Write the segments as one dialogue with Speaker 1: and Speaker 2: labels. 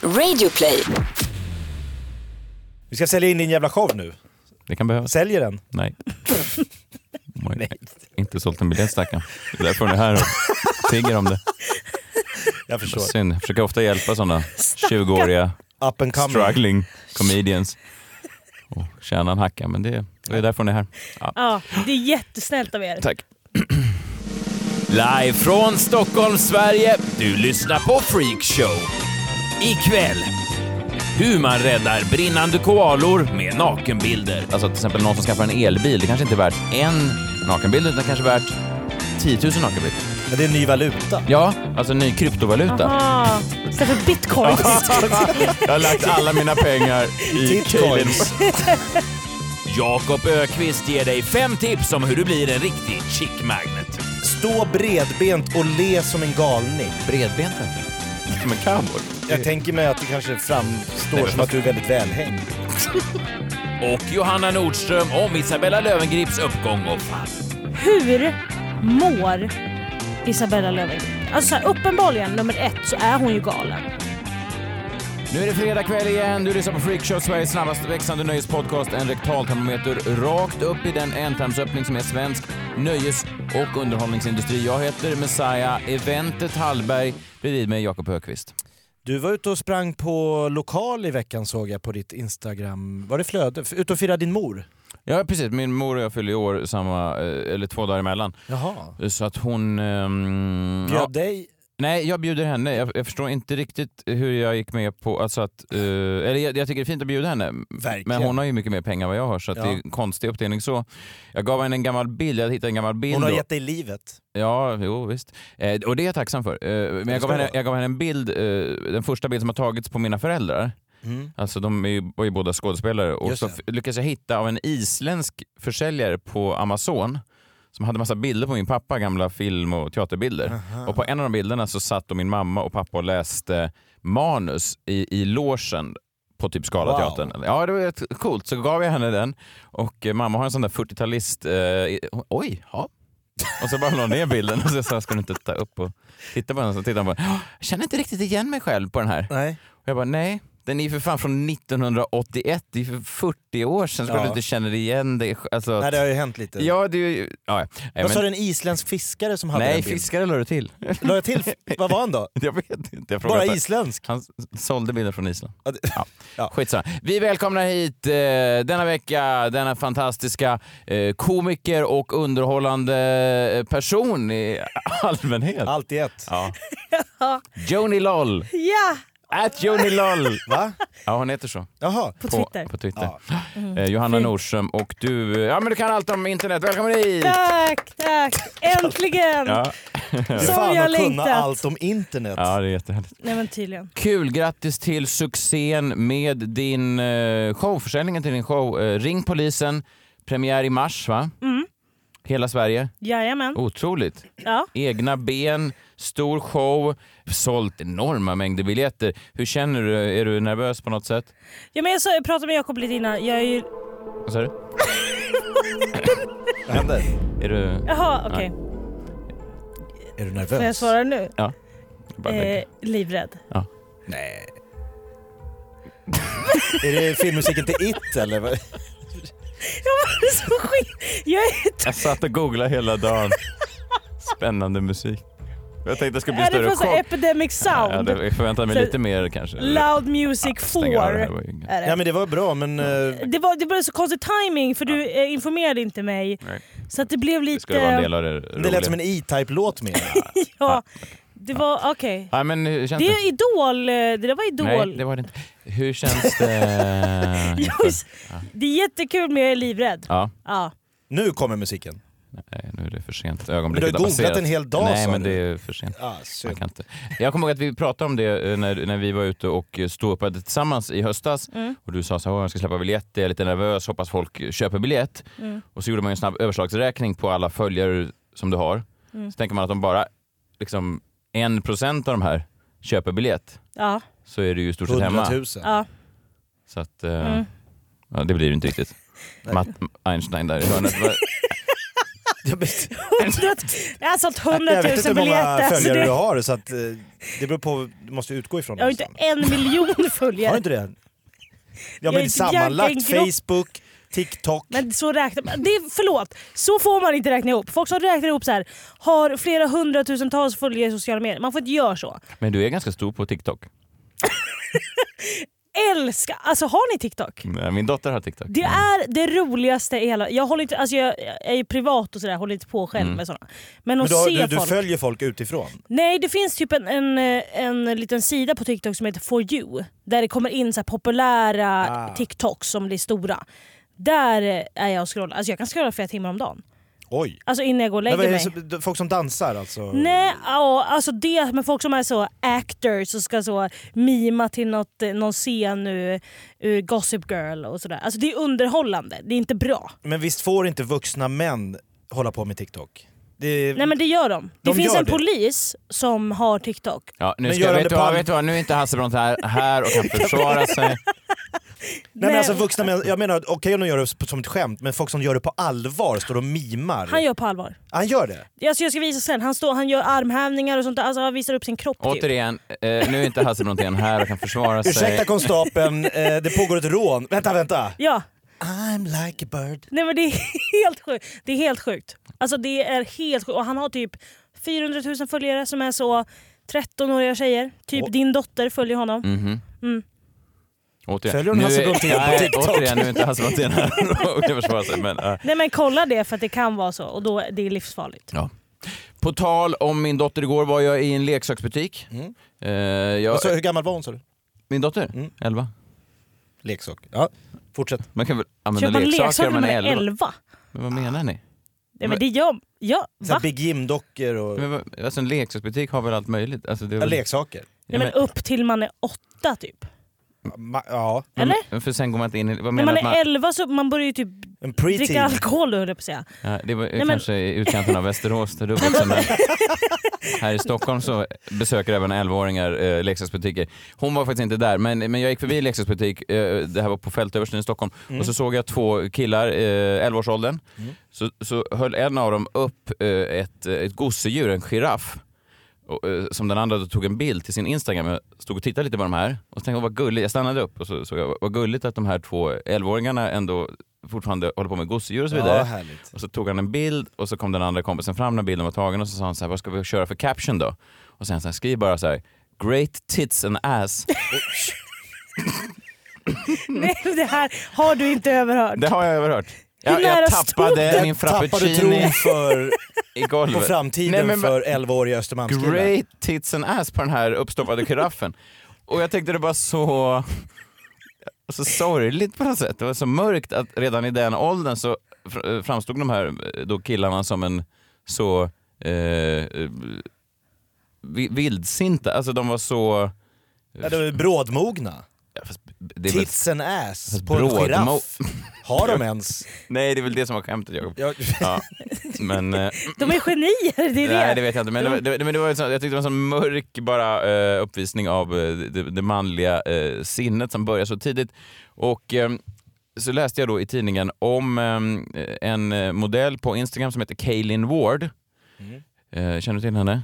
Speaker 1: Radioplay.
Speaker 2: Vi ska sälja in din jävla show nu.
Speaker 3: Det kan behövas.
Speaker 2: Säljer den.
Speaker 3: Nej. Man har inte sålt en biljett stackarn. Det är därför hon är här och tigger om det.
Speaker 2: Jag förstår.
Speaker 3: Synd. Jag försöker ofta hjälpa sådana 20-åriga
Speaker 2: Up and coming.
Speaker 3: struggling comedians. Och tjäna en hacka, men det, det är därför hon är här. Ja.
Speaker 4: Ja, det är jättesnällt av er.
Speaker 3: Tack. Live från Stockholm, Sverige. Du lyssnar på Freak Show. Ikväll. Hur man räddar brinnande koalor med nakenbilder. Alltså till exempel någon som skaffar en elbil. Det kanske inte är värt en nakenbild utan kanske värt 10 000 nakenbilder.
Speaker 2: Men det är en ny valuta.
Speaker 3: Ja, alltså en ny kryptovaluta.
Speaker 4: Aha. Istället Ah, för bitcoins.
Speaker 3: Jag har lagt alla mina pengar i Kaelin.
Speaker 2: Bitcoins.
Speaker 3: Jakob Ökvist ger dig fem tips om hur du blir en riktig chick magnet.
Speaker 2: Stå bredbent och le som en galning.
Speaker 3: Bredbent verkligen. Som en cowboy.
Speaker 2: Jag tänker mig att det kanske framstår som att du är väldigt välhängd.
Speaker 3: och Johanna Nordström om Isabella Lövengrips uppgång och fall.
Speaker 4: Hur mår Isabella Löwengrip? Alltså så här, uppenbarligen, nummer ett, så är hon ju galen.
Speaker 3: Nu är det fredag kväll igen. Du lyssnar på Freakshow, Sveriges snabbast växande nöjespodcast. En rektaltermometer rakt upp i den ändtarmsöppning som är svensk nöjes och underhållningsindustri. Jag heter Messiah, eventet Hallberg. Bredvid mig Jakob Högqvist.
Speaker 2: Du var ute och sprang på lokal i veckan såg jag på ditt Instagram. Var det flöde? F- Ute och firade din mor?
Speaker 3: Ja, precis. Min mor och jag fyller i år samma, eh, eller två dagar emellan.
Speaker 2: Jaha.
Speaker 3: Så att hon... ehm,
Speaker 2: Bjöd
Speaker 3: ja,
Speaker 2: dig?
Speaker 3: nej, jag bjuder henne. Jag, jag förstår inte riktigt hur jag gick med på... Alltså att, eh, eller jag, jag tycker det är fint att bjuda henne.
Speaker 2: Verkligen.
Speaker 3: Men hon har ju mycket mer pengar än vad jag har så att
Speaker 2: Ja.
Speaker 3: det är en konstig uppdelning så. Jag gav henne en gammal bild, jag hittade en gammal bild.
Speaker 2: Hon har
Speaker 3: då.
Speaker 2: gett dig livet.
Speaker 3: Ja, jo visst. Eh, och det är jag tacksam för. Eh, men
Speaker 2: ska
Speaker 3: jag gav, henne,
Speaker 2: vara.
Speaker 3: jag gav henne en bild, eh, den första bild som har tagits på mina föräldrar.
Speaker 2: Mm.
Speaker 3: Alltså de är ju, var ju båda skådespelare och
Speaker 2: Just
Speaker 3: så
Speaker 2: det.
Speaker 3: f- lyckades jag hitta av en isländsk försäljare på Amazon som hade massa bilder på min pappa, gamla film och teaterbilder. Och på en av de bilderna så satt då min mamma och pappa och läste manus i, i logen på typ Scalateatern. Ja, det var rätt coolt. Så gav jag henne den och eh, mamma har en sån där 40-talist... Eh, i- oj, ja. Och så bara la hon ner bilden och så sa jag, ska du inte ta upp och titta på den? Så tittade hon på den. Jag känner inte riktigt igen mig själv på den här.
Speaker 2: Nej.
Speaker 3: Och jag bara, nej, den är ju för fan från 1981, det är ju för 40 år sedan. Ska
Speaker 2: Ja.
Speaker 3: du inte känna igen dig sj- alltså,
Speaker 2: Nej, det har ju hänt lite.
Speaker 3: Ja, det är ju... Ja, ja. Nej,
Speaker 2: Vad sa du, en isländsk fiskare som hade
Speaker 3: nej
Speaker 2: en bild?
Speaker 3: fiskare la du till.
Speaker 2: La jag till? Vad var han då?
Speaker 3: jag vet inte. Jag
Speaker 2: Bara
Speaker 3: frågade-
Speaker 2: isländsk?
Speaker 3: Han s- sålde bilder från Island.
Speaker 2: Ja, det-
Speaker 3: Ja.
Speaker 2: Ja.
Speaker 3: Skitsamma. Vi välkomnar hit eh, denna vecka denna fantastiska eh, komiker och underhållande eh, person i allmänhet.
Speaker 2: Allt i ett.
Speaker 3: Ja. Joni Loll.
Speaker 4: Ja!
Speaker 3: At Joni Loll.
Speaker 2: Va?
Speaker 3: Ja, hon heter så.
Speaker 2: Jaha.
Speaker 4: På Twitter. Mm-hmm.
Speaker 3: På, Twitter. Eh, Johanna Nordström och du, eh, ja men du kan allt om internet. Välkommen hit!
Speaker 4: Tack, tack! Äntligen!
Speaker 3: Ja.
Speaker 2: Du
Speaker 4: Som
Speaker 2: fan
Speaker 4: jag
Speaker 2: att kunna
Speaker 4: längtat.
Speaker 2: allt om internet.
Speaker 3: ja, det är jättehärligt.
Speaker 4: Nej men tydligen.
Speaker 3: Kul, grattis till succén med din eh, show, försäljningen till din show. Eh, Ring polisen, premiär i mars va?
Speaker 4: Mm.
Speaker 3: Hela Sverige.
Speaker 4: Jajamän.
Speaker 3: Oh. Otroligt.
Speaker 4: Ja.
Speaker 3: Egna ben, stor show, sålt enorma mängder biljetter. Hur känner du? Är du nervös på något sätt?
Speaker 4: ja men jag, sa, jag pratade med Jakob lite innan. Jag är ju...
Speaker 3: Vad sa du?
Speaker 2: Vad händer?
Speaker 3: Är du...
Speaker 4: Jaha, okej.
Speaker 2: Är du
Speaker 4: Får jag
Speaker 2: nervös?
Speaker 4: svara nu?
Speaker 3: Ja. Bara
Speaker 4: Eh, livrädd.
Speaker 2: Nej. är det filmmusiken till It eller? vad?
Speaker 4: Det är så skit. Jag är
Speaker 3: Jag satt och googlade hela dagen. Spännande musik. Jag tänkte det skulle bli
Speaker 4: Är det
Speaker 3: större
Speaker 4: från så
Speaker 3: chock.
Speaker 4: här epidemic
Speaker 3: Jag
Speaker 4: sound?
Speaker 3: hade förväntat mig
Speaker 4: Så-
Speaker 3: lite mer kanske.
Speaker 4: Loud music 4
Speaker 3: Stäng av det här, det var ju inget.
Speaker 4: är
Speaker 2: Ja
Speaker 4: det.
Speaker 2: men det var bra men... eh,
Speaker 4: Det var, det var så konstig timing för du eh, informerade inte mig.
Speaker 3: Nej.
Speaker 4: Så att det blev
Speaker 3: Det
Speaker 4: lite...
Speaker 3: skulle vara en del av det roliga.
Speaker 2: det lät som en E-Type-låt med.
Speaker 4: Ja, det var okej.
Speaker 3: Nej men hur känns
Speaker 4: Det
Speaker 3: det?
Speaker 4: är Idol. eh, Det där var Idol.
Speaker 3: Nej, det var det inte. Hur känns det?
Speaker 4: Just, det är jättekul men jag är livrädd.
Speaker 3: Ja,
Speaker 4: Ja.
Speaker 2: Nu kommer musiken.
Speaker 3: nej, nu är det för sent.
Speaker 2: Men du har
Speaker 3: Ögonblicket
Speaker 2: googlat
Speaker 3: passerat.
Speaker 2: en hel dag,
Speaker 3: Nej,
Speaker 2: sa
Speaker 3: men
Speaker 2: du.
Speaker 3: det är för sent.
Speaker 2: Ah,
Speaker 3: Man
Speaker 2: synd.
Speaker 3: kan inte. Jag kommer ihåg att vi pratade om det eh, när, när vi var ute och eh, ståuppade tillsammans i höstas. Och Du sa så här, "Åh, jag ska släppa biljett, jag är lite nervös, hoppas folk eh, köper biljett. Och så gjorde man ju en snabb överslagsräkning på alla följare som du har. Så tänker man att om bara liksom, 1% av de här köper biljett
Speaker 4: Ja.
Speaker 3: så är du ju i stort sett
Speaker 2: 100
Speaker 3: hemma.
Speaker 2: 000.
Speaker 4: ja.
Speaker 3: Så att, eh, ja, det blir ju inte riktigt. Matt Einstein där i hörnet. Vad-
Speaker 2: Jag vet,
Speaker 4: Jag har sålt 100 000
Speaker 2: jag vet inte hur många
Speaker 4: biljetter. Så
Speaker 2: följare du
Speaker 4: du,
Speaker 2: har så att, eh, det beror på, du måste utgå ifrån
Speaker 4: jag har inte
Speaker 2: någonstans.
Speaker 4: en miljon
Speaker 2: Har du
Speaker 4: följare.
Speaker 2: inte det? Ja
Speaker 4: Jag är
Speaker 2: men
Speaker 4: inte
Speaker 2: sammanlagt
Speaker 4: Bianca Ingrosso.
Speaker 2: Facebook, TikTok.
Speaker 4: Men så räknar man. Det är, förlåt, så får man inte räkna ihop. Folk som räknar ihop så här har flera hundratusentals följare i sociala medier. Man får inte göra så.
Speaker 3: Men du är ganska stor på TikTok.
Speaker 4: Älskar... Alltså har ni TikTok?
Speaker 3: Nej, Min dotter har TikTok.
Speaker 4: Det är det roligaste i hela... Jag, håller inte, alltså jag, jag är ju privat och sådär, håller inte på själv med sådana.
Speaker 2: Mm.
Speaker 4: Men
Speaker 2: Men
Speaker 4: att
Speaker 2: du, har-
Speaker 4: se
Speaker 2: du, du
Speaker 4: folk...
Speaker 2: följer folk utifrån?
Speaker 4: Nej, det finns typ en, en, eh, en liten sida på TikTok som heter For You. Där det kommer in så här populära
Speaker 2: Ah.
Speaker 4: TikToks som blir stora. Där eh, är jag och scrollar. Alltså jag kan scrolla flera timmar om dagen.
Speaker 2: Oj!
Speaker 4: Alltså innan jag går och
Speaker 2: Men
Speaker 4: lägger
Speaker 2: vad är
Speaker 4: mig.
Speaker 2: det som- folk som dansar alltså?
Speaker 4: Nej, ja, alltså det med folk som är så actors och ska så mima till något, eh, någon scen ur, ur Gossip Girl och sådär. Alltså det är underhållande, det är inte bra.
Speaker 2: Men visst får inte vuxna män hålla på med TikTok? Det,
Speaker 4: Nej men det gör de.
Speaker 2: De
Speaker 4: det finns
Speaker 2: gör
Speaker 4: en
Speaker 2: det.
Speaker 4: polis som har TikTok.
Speaker 3: Ja, nu
Speaker 2: Men
Speaker 3: ska,
Speaker 2: Göran
Speaker 3: vet, du,
Speaker 2: Palm-
Speaker 3: vad, vet du vad, nu är inte Hasselbrandt här, här och kan försvara sig.
Speaker 2: Nej, men alltså vuxna män, jag menar okej om de gör det som ett skämt, men folk som gör det på allvar står och mimar.
Speaker 4: Han gör på allvar.
Speaker 2: Han gör det?
Speaker 4: Alltså jag ska visa sen, han, står, han gör armhävningar och sånt där. Alltså han visar upp sin kropp typ.
Speaker 3: Återigen, eh, nu är inte Hasselbrandt igen här och kan försvara
Speaker 2: Ursäkta
Speaker 3: sig.
Speaker 2: konstapeln, eh, det pågår ett rån. Vänta, vänta!
Speaker 4: Ja,
Speaker 2: I'm like a bird.
Speaker 4: nej men det är helt sjukt. Det är helt sjukt. Alltså det är helt sjukt. Och han har typ 400 000 följare som är så 13-åriga tjejer. Typ
Speaker 2: Åh.
Speaker 4: din dotter följer honom.
Speaker 3: Mhm.
Speaker 4: Mm.
Speaker 3: Återigen.
Speaker 2: Följer hon
Speaker 3: Nu är-
Speaker 2: Hasselbrandt igen på
Speaker 3: Nej,
Speaker 2: TikTok?
Speaker 3: Återigen, nu är inte Hasselbrandt igen här och kan försvara sig. Men, eh.
Speaker 4: Nej men kolla det för att det kan vara så och då det är livsfarligt.
Speaker 3: På tal om min dotter igår var jag i en leksaksbutik.
Speaker 2: Mm.
Speaker 3: Eh, jag,
Speaker 2: Alltså, hur gammal var hon sa du?
Speaker 3: min dotter?
Speaker 2: Mm.
Speaker 3: 11.
Speaker 2: Leksak. Ja, fortsätt.
Speaker 3: Man kan väl använda
Speaker 4: Köpa en
Speaker 3: leksaker
Speaker 4: leksak
Speaker 3: om man
Speaker 4: nummer
Speaker 3: är 11?
Speaker 4: 11.
Speaker 3: Men vad menar ni?
Speaker 4: Nej men det gör... Ja,
Speaker 2: Så här
Speaker 4: va?
Speaker 2: Big Jim-dockor och
Speaker 3: Men, vad- alltså en leksaksbutik har väl allt möjligt? Alltså, det är
Speaker 2: ja,
Speaker 3: väl,
Speaker 2: leksaker.
Speaker 4: Nej men upp till man är åtta typ.
Speaker 2: Ma- Ja,
Speaker 4: Eller?
Speaker 3: Men, för sen går man inte in i... Vad
Speaker 4: När
Speaker 3: menar
Speaker 4: man
Speaker 3: att man,
Speaker 4: är 11 så man börjar ju typ
Speaker 2: en
Speaker 4: dricka
Speaker 2: preteen.
Speaker 4: alkohol höll jag på att säga.
Speaker 3: ja, Det var
Speaker 4: men-
Speaker 3: kanske i utkanten av Västerås där du är vuxen, men Här i Stockholm så besöker även 11-åringar eh, leksaksbutiker. Hon var faktiskt inte där, men, men jag gick förbi en leksaksbutik, eh, det här var på Fältöversten i Stockholm, och så såg jag två killar, eh, 11-årsåldern, så, så höll en av dem upp eh, ett, eh, ett gosedjur, en giraff. Och, eh, som den andra då tog en bild till sin Instagram. Jag stod och tittade lite på de här och så tänkte jag vad gulligt. Jag stannade upp och så såg jag vad- vad gulligt att de här två 11-åringarna ändå fortfarande håller på med gosedjur och så vidare.
Speaker 2: Ja, härligt.
Speaker 3: Och så tog han en bild och så kom den andra kompisen fram när bilden var tagen och så sa han så här, vad ska vi köra för caption då? Och sen så här, skriv bara så här, great tits and ass.
Speaker 4: Nej det här har du inte överhört.
Speaker 3: Det har jag överhört. Jag,
Speaker 4: Hur nära
Speaker 3: jag
Speaker 4: stod
Speaker 3: tappade
Speaker 4: den?
Speaker 3: min
Speaker 2: Tappade tron
Speaker 3: frappuccini
Speaker 2: för,
Speaker 3: i
Speaker 2: på
Speaker 3: golvet.
Speaker 2: framtiden
Speaker 3: men-
Speaker 2: för 11-åriga Östermalmskillar.
Speaker 3: Great tits and ass på den här uppstoppade giraffen. Och jag tänkte det var så, så sorgligt på något sätt. Det var så mörkt att redan i den åldern så fr- framstod de här eh, då killarna som en så eh, eh, vi- vildsinta. Alltså de var så...
Speaker 2: Ja, de är brådmogna.
Speaker 3: Ja, fast Det är väl,
Speaker 2: Tits and ass
Speaker 3: Fast
Speaker 2: på en
Speaker 3: brådmo-
Speaker 2: giraff. Har de ens?
Speaker 3: nej, det är väl det som var skämtet Jakob.
Speaker 2: Jag,
Speaker 3: Ja. Men, eh,
Speaker 4: De är genier, det är
Speaker 3: nej, det
Speaker 4: det.
Speaker 3: vet jag inte. Men, det var, det, men det var, en sån- jag tyckte det var en sån mörk bara, eh, uppvisning av eh, det, det manliga eh, sinnet som börjar så tidigt. Och eh, så läste jag då i tidningen om eh, en eh, modell på Instagram som heter Kaylin Ward.
Speaker 2: Mm.
Speaker 3: Eh, känner du till henne?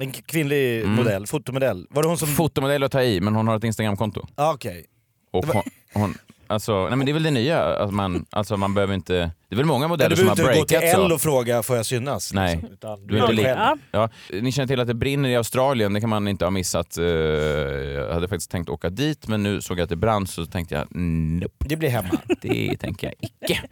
Speaker 2: en kvinnlig
Speaker 3: Mm.
Speaker 2: modell, fotomodell. Var det hon som...
Speaker 3: Fotomodell att ta i, men hon har ett Instagramkonto.
Speaker 2: ah, Okej.
Speaker 3: Och
Speaker 2: Det var-
Speaker 3: hon, hon, alltså, nej, men det är väl det nya, att man, alltså, man behöver inte... Det är väl många
Speaker 2: Ja, Du
Speaker 3: modeller som
Speaker 2: behöver
Speaker 3: har
Speaker 2: inte gå till
Speaker 3: breakat så.
Speaker 2: L och fråga får jag synas.
Speaker 3: Nej.
Speaker 2: liksom, utan
Speaker 3: Du är inte
Speaker 2: själv.
Speaker 3: lik-
Speaker 4: ja.
Speaker 3: Ja, ni känner till att det brinner i Australien, det kan man inte ha missat. Eh, Jag hade faktiskt tänkt åka dit men nu såg jag att det brann så tänkte jag nope,
Speaker 2: Det blir hemma.
Speaker 3: det tänker jag icke.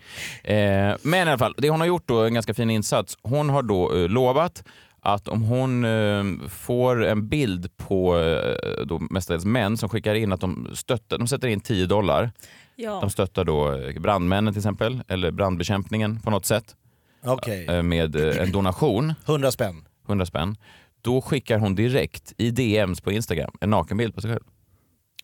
Speaker 3: Eh, Men i alla fall, det hon har gjort då, en ganska fin insats. Hon har då eh, lovat att om hon eh, får en bild på eh, då mestadels män som skickar in att de stöttar, de sätter in 10 dollar.
Speaker 4: Ja.
Speaker 3: De stöttar då eh, brandmännen till exempel, eller brandbekämpningen på något sätt
Speaker 2: Okej.
Speaker 3: eh, med eh, en donation.
Speaker 2: 100 spänn.
Speaker 3: 100 spänn. Då skickar hon direkt i DMs på Instagram en nakenbild på sig själv.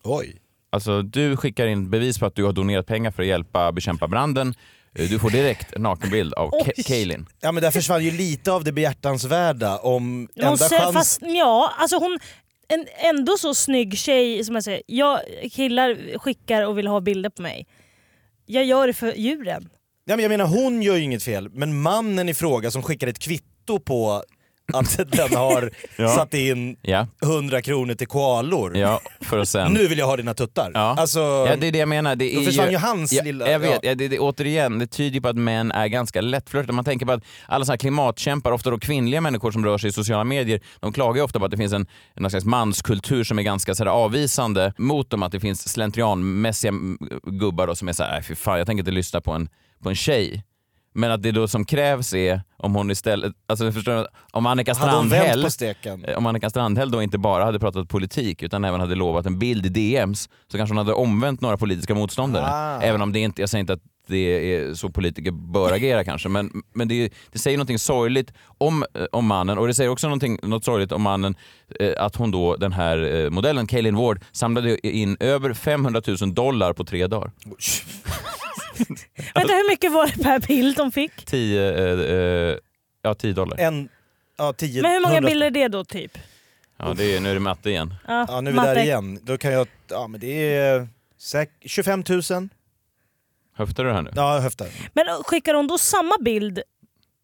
Speaker 2: Oj.
Speaker 3: Alltså du skickar in bevis på att du har donerat pengar för att hjälpa bekämpa branden. Eh, Du får direkt en nakenbild av Ke-
Speaker 4: Oj.
Speaker 3: Kaylin.
Speaker 2: Ja men där försvann ju lite av det behjärtansvärda om
Speaker 4: Men Hon
Speaker 2: enda
Speaker 4: ser,
Speaker 2: chans...
Speaker 4: fast, ja, alltså hon... En ändå så snygg tjej som jag säger, jag, killar skickar och vill ha bilder på mig. Jag gör det för djuren.
Speaker 2: Ja, men jag menar hon gör ju inget fel, men mannen i fråga som skickar ett kvitto på att den har satt in
Speaker 3: Ja,
Speaker 2: 100 kronor till koalor.
Speaker 3: ja för att sen...
Speaker 2: Nu vill jag ha dina tuttar.
Speaker 3: Ja.
Speaker 2: Alltså,
Speaker 3: Ja, det är det jag menar. Det
Speaker 2: Då
Speaker 3: är
Speaker 2: försvann ju hans
Speaker 3: ja,
Speaker 2: lilla-
Speaker 3: Jag vet,
Speaker 2: ja.
Speaker 3: ja. det, det, återigen, det tyder ju på att män är ganska lättflörtade. Man tänker på att alla såna här klimatkämpar, ofta då kvinnliga människor som rör sig i sociala medier, de klagar ju ofta på att det finns en någon slags manskultur som är ganska så här, avvisande mot dem. Att det finns slentrianmässiga mm, gubbar då, som är så här, "Äh, fy fan jag tänker inte lyssna på en, på en tjej. Men att det då som krävs är om hon istället, alltså förstår du, om Annika
Speaker 2: hade hon vänt
Speaker 3: Strandhäll
Speaker 2: på steken?
Speaker 3: Eh, om Annika Strandhäll då inte bara hade pratat politik utan även hade lovat en bild i DMs så kanske hon hade omvänt några politiska motståndare.
Speaker 2: Ah.
Speaker 3: Även om det inte, jag säger inte att det är så politiker bör agera kanske men, men det, är- det säger någonting sorgligt om, eh, om mannen och det säger också någonting, något sorgligt om mannen eh, att hon då, den här eh, modellen, Kaylin Ward, samlade in över 500 000 dollar på tre dagar.
Speaker 4: Vänta hur mycket var det per bild de fick?
Speaker 3: 10, eh, eh, ja 10 dollar.
Speaker 2: En, ja, tio,
Speaker 4: Men hur många
Speaker 2: hundra-
Speaker 4: bilder är det då typ?
Speaker 3: Ja, det är, nu är det matte igen.
Speaker 2: Ja, nu är vi
Speaker 4: matte.
Speaker 2: där igen. Då kan jag, ja men det är säk, 25 000.
Speaker 3: Höftar du det här nu?
Speaker 2: Ja, höftar.
Speaker 4: Men skickar hon då samma bild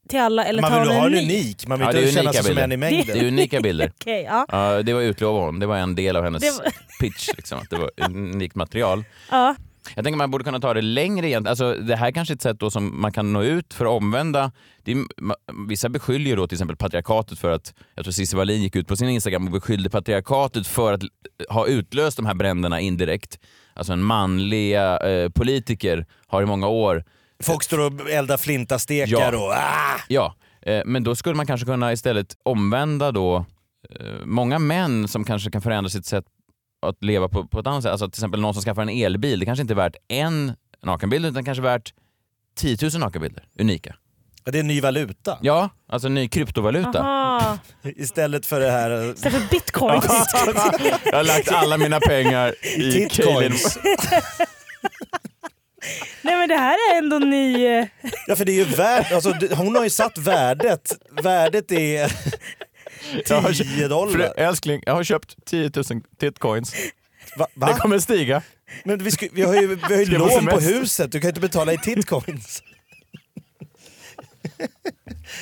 Speaker 4: till alla eller
Speaker 2: Man
Speaker 4: tar
Speaker 2: vill
Speaker 4: hon
Speaker 2: ju ha
Speaker 4: en
Speaker 2: en
Speaker 4: ny?
Speaker 2: unik, man vill
Speaker 3: Ja, det är
Speaker 2: inte känna
Speaker 3: unika
Speaker 2: sig som
Speaker 3: bilder.
Speaker 2: en i
Speaker 3: Det är
Speaker 2: mängden.
Speaker 3: unika bilder.
Speaker 4: Okej, ja.
Speaker 3: Ja, det var utlovad hon. Det var en del av hennes
Speaker 4: Det var-
Speaker 3: pitch. Liksom. att Det var unikt material.
Speaker 4: ja.
Speaker 3: Jag tänker man borde kunna ta det längre egentligen. Alltså, det här kanske är ett sätt då som man kan nå ut för att omvända. Det är, ma- vissa beskyller ju då till exempel patriarkatet för att, jag tror Cissi Wallin gick ut på sin Instagram och beskyllde patriarkatet för att l- ha utlöst de här bränderna indirekt. Alltså en manliga eh, politiker har i många år
Speaker 2: Folk står och eldar flintastekar
Speaker 3: Ja.
Speaker 2: och ah!
Speaker 3: Ja, eh, men då skulle man kanske kunna istället omvända då eh, många män som kanske kan förändra sitt sätt att leva på, på ett annat sätt. Alltså till exempel någon som skaffar en elbil, det kanske inte är värt en nakenbild utan kanske värt 10 000 nakenbilder, unika.
Speaker 2: Det är en ny valuta.
Speaker 3: Ja, alltså en ny kryptovaluta.
Speaker 4: Aha.
Speaker 2: Istället för det här...
Speaker 4: Istället för bitcoin.
Speaker 3: Jag har lagt alla mina pengar i Kaelin.
Speaker 2: Titcoins.
Speaker 4: Nej men det här är ändå ny... eh,
Speaker 2: Ja för det är ju värt, alltså, d- hon har ju satt värdet. Värdet är 10
Speaker 3: Fru,
Speaker 2: dollar.
Speaker 3: älskling, jag har köpt 10 000 titcoins.
Speaker 2: Va?
Speaker 4: Ah.
Speaker 3: Det
Speaker 2: Va?
Speaker 3: kommer stiga.
Speaker 2: Men vi, sku, vi har ju, vi har ju
Speaker 3: Ska jag på
Speaker 2: lån på
Speaker 3: semester?
Speaker 2: huset, du kan ju inte betala i titcoins.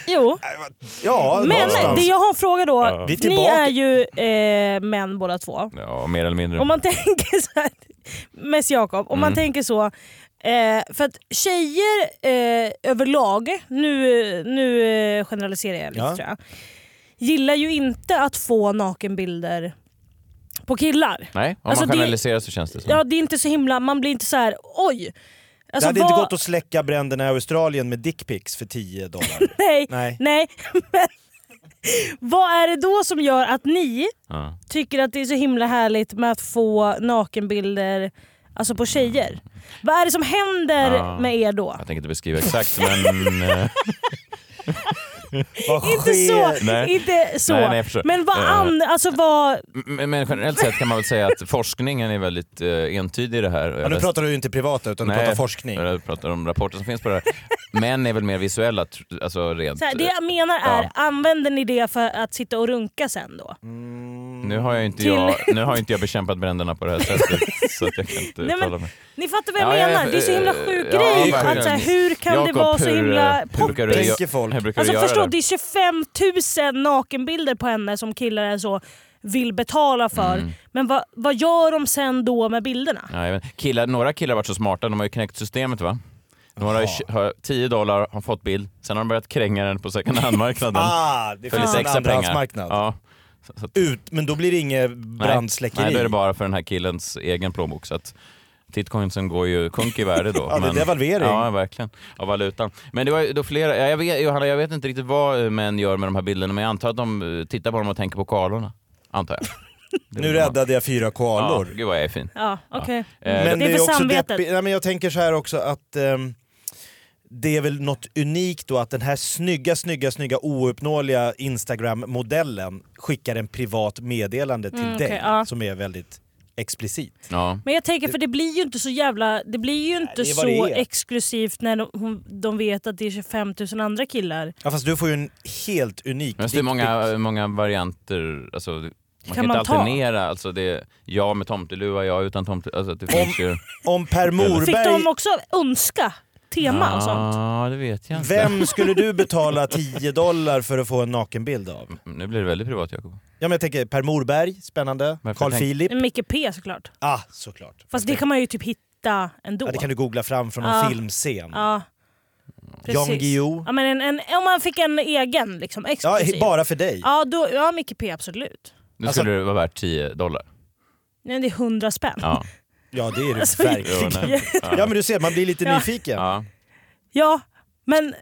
Speaker 4: Jo.
Speaker 2: Ja,
Speaker 4: Men
Speaker 2: någonstans.
Speaker 4: det alltså jag har en fråga då.
Speaker 2: Vi är
Speaker 4: Ni
Speaker 2: tillbaka.
Speaker 4: är ju eh, män båda två.
Speaker 3: Ja, mer eller mindre.
Speaker 4: Om man tänker så här, mest Jakob, om man tänker så. Eh, för att tjejer eh, överlag, nu, nu eh, generaliserar jag lite
Speaker 2: Ja.
Speaker 4: tror jag, gillar ju inte att få nakenbilder på killar.
Speaker 3: Nej, om
Speaker 4: Alltså, det-
Speaker 3: man generaliserar så känns det som.
Speaker 4: Ja, det är inte så himla, man blir inte så här, oj.
Speaker 2: det
Speaker 4: Alltså,
Speaker 2: hade
Speaker 4: vad-
Speaker 2: inte gått att släcka bränderna i Australien med dickpics för 10 dollar.
Speaker 4: Nej,
Speaker 2: Nej.
Speaker 4: nej. Men, vad är det då som gör att ni
Speaker 3: Ja.
Speaker 4: tycker att det är så himla härligt med att få nakenbilder alltså på tjejer? Vad är det som händer
Speaker 3: Ja.
Speaker 4: med er då?
Speaker 3: Jag tänker inte beskriva exakt men... eh,
Speaker 2: Vad
Speaker 4: Inte så,
Speaker 3: Nej.
Speaker 4: inte så.
Speaker 3: Nej, nej, jag förstår.
Speaker 4: men vad
Speaker 3: Eh.
Speaker 4: an, alltså vad,
Speaker 3: men men generellt sett kan man väl säga att forskningen är väldigt eh, entydig i det här.
Speaker 2: Ja, nu pratar du ju inte privata utan du pratar forskning.
Speaker 3: Jag pratar om rapporter som finns på det här. Män är väl mer visuella, tr- alltså rent...
Speaker 4: så här, det jag menar är,
Speaker 3: Ja. Mm.
Speaker 4: använder ni det för att sitta och runka sen då?
Speaker 2: Mm.
Speaker 3: Nu har, jag inte
Speaker 4: Till-
Speaker 3: jag, nu har inte jag bekämpat bränderna på det här sättet så att jag kan inte
Speaker 4: Nej, men-
Speaker 3: uttala mig.
Speaker 4: Ni fattar vad jag
Speaker 3: Ja, ja,
Speaker 4: menar,
Speaker 3: ja,
Speaker 4: det är så himla
Speaker 3: eh,
Speaker 4: sjuk
Speaker 3: ja,
Speaker 4: grej.
Speaker 3: verkligen.
Speaker 4: Att, så här, hur kan
Speaker 3: Jakob,
Speaker 4: det vara så
Speaker 3: hur, eh,
Speaker 4: himla
Speaker 3: hur brukar du
Speaker 4: poppis?
Speaker 2: Tänker folk.
Speaker 3: Hur brukar
Speaker 4: Alltså
Speaker 3: du göra?
Speaker 4: förstå, det är 25 000 nakenbilder på henne som killar är så vill betala för.
Speaker 3: Mm.
Speaker 4: Men vad, vad gör de sen då med bilderna?
Speaker 3: Nej, men killar, några killar har varit så smarta, de har ju knäckt systemet va? Några har ju
Speaker 2: Jaha.
Speaker 3: kö- har 10 dollar, har fått bild, sen har de börjat kränga den på second hand-marknaden.
Speaker 2: Ah, det
Speaker 3: för
Speaker 2: finns
Speaker 3: lite
Speaker 2: en
Speaker 3: extra pengar.
Speaker 2: andrahandsmarknad.
Speaker 3: Ja. Så, så att-
Speaker 2: Ut, men då blir det inget
Speaker 3: Nej.
Speaker 2: brandsläckeri.
Speaker 3: Nej, då är det bara för den här killens egen plånbok. Så att Titcoinsen går ju sjunk i värde då.
Speaker 2: Ja, det är devalvering.
Speaker 3: Ja, verkligen. Av valutan. Men det var ju då flera... Ja, jag vet, Johanna, jag vet inte riktigt vad eh, män gör med de här bilderna, men jag antar att de eh, tittar på dem och tänker på koalorna. Antar jag.
Speaker 2: Nu räddade jag fyra
Speaker 3: Ja,
Speaker 2: koalor.
Speaker 3: gud vad jag är fin.
Speaker 4: Ja, okej. Mm.
Speaker 3: Eh,
Speaker 4: det är
Speaker 2: Men
Speaker 4: för
Speaker 2: det är också
Speaker 4: samvetet.
Speaker 2: deppigt. Nej, men jag tänker så här också att ehm, det är väl något unikt då att den här snygga, snygga, snygga ouppnåeliga Instagram-modellen skickar en privat meddelande till
Speaker 4: Mm, okej,
Speaker 2: dig
Speaker 4: ja.
Speaker 2: som är väldigt explicit.
Speaker 3: Ja.
Speaker 4: Men jag tänker för det blir ju inte så jävla... Det blir ju inte
Speaker 2: det är vad
Speaker 4: så
Speaker 2: det är.
Speaker 4: exklusivt när de, hon, de vet att det är 25 000 andra killar.
Speaker 2: Ja, fast du får ju en helt unik
Speaker 3: Men det är
Speaker 2: dick
Speaker 3: många,
Speaker 2: pic.
Speaker 3: eh, många varianter. Alltså, man kan,
Speaker 4: kan
Speaker 3: inte
Speaker 4: man ta?
Speaker 3: alternera. Alltså, det är jag med tomteluva, jag utan tomteluva. Alltså, det finns ju...
Speaker 2: Om Per Morberg...
Speaker 4: Fick de också önska tema och sånt.
Speaker 3: Ja, det vet jag inte.
Speaker 2: Vem skulle du betala 10 dollar för att få en nakenbild av?
Speaker 3: Nu blir det väldigt privat Jakob.
Speaker 2: Ja, men jag tänker Per Morberg, spännande.
Speaker 3: Varför
Speaker 2: Carl
Speaker 3: tänk-
Speaker 2: Philip.
Speaker 4: Micke P såklart.
Speaker 2: Ah, såklart.
Speaker 4: Mm. Fast det kan man ju typ hitta ändå.
Speaker 2: ja, det kan du googla fram från någon
Speaker 4: Ja.
Speaker 2: filmscen. Jan
Speaker 4: Ja. Precis.
Speaker 2: Guillou.
Speaker 4: Ja, men en, en, om man fick en egen liksom,
Speaker 2: Ja,
Speaker 4: exklusiv.
Speaker 2: bara för dig.
Speaker 4: ja, då, ja Micke P absolut.
Speaker 3: Nu
Speaker 2: Alltså-
Speaker 3: skulle det vara värt 10 dollar.
Speaker 4: Nej, det är hundra spänn.
Speaker 3: Ja.
Speaker 2: Ja, det är det
Speaker 4: Alltså,
Speaker 2: verkligen.
Speaker 3: Jo, nej.
Speaker 2: Ja, men du ser, man blir lite
Speaker 4: Ja.
Speaker 2: nyfiken.
Speaker 3: Ja.
Speaker 4: Ja, men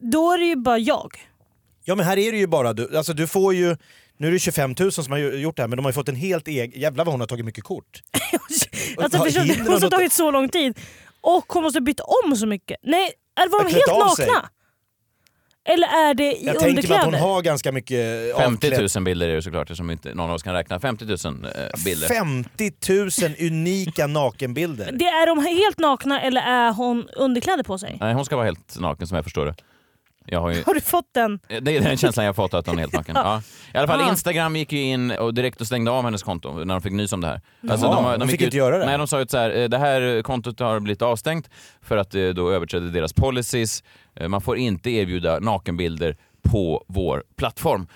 Speaker 4: då är det ju bara jag.
Speaker 2: Ja, men här är det ju bara du. Alltså, du får ju... Nu är det 25 000 som har ju- gjort det här, men de har ju fått en helt egen... Jävlar vad hon har tagit mycket kort.
Speaker 4: Alltså,
Speaker 2: Vad
Speaker 4: förstår, du?
Speaker 2: hindrar
Speaker 4: det måste
Speaker 2: något-
Speaker 4: ha tagit så lång tid. Och hon måste ha bytt om så mycket. Nej, eller var
Speaker 2: Har
Speaker 4: de
Speaker 2: klätt
Speaker 4: helt
Speaker 2: av sig.
Speaker 4: nakna? Eller är det i
Speaker 2: Jag tänker mig att hon
Speaker 4: underkläder?
Speaker 2: har ganska mycket
Speaker 3: 50
Speaker 2: avklädd-
Speaker 3: 000 bilder är det såklart som inte någon av oss kan räkna. 50 000 eh, bilder.
Speaker 2: 50 000 unika nakenbilder.
Speaker 4: Det är de helt nakna eller är hon underkläder på sig?
Speaker 3: Nej, hon ska vara helt naken som jag förstår det. Jag har ju...
Speaker 4: Har du fått den?
Speaker 3: Eh, Det är den känslan jag har fått, att hon är helt naken. Ja. I alla
Speaker 2: Ah.
Speaker 3: fall,
Speaker 4: Ja.
Speaker 3: Instagram gick ju in och direkt och stängde av hennes konto när de fick nys om det här. Alltså,
Speaker 2: Jaha,
Speaker 3: har-
Speaker 2: de
Speaker 3: gick
Speaker 2: fick inte göra det.
Speaker 3: Nej, de sa ut så här, eh, det här kontot har blivit avstängt för att eh, då överträdde deras policies. Eh, Man får inte erbjuda nakenbilder på vår plattform.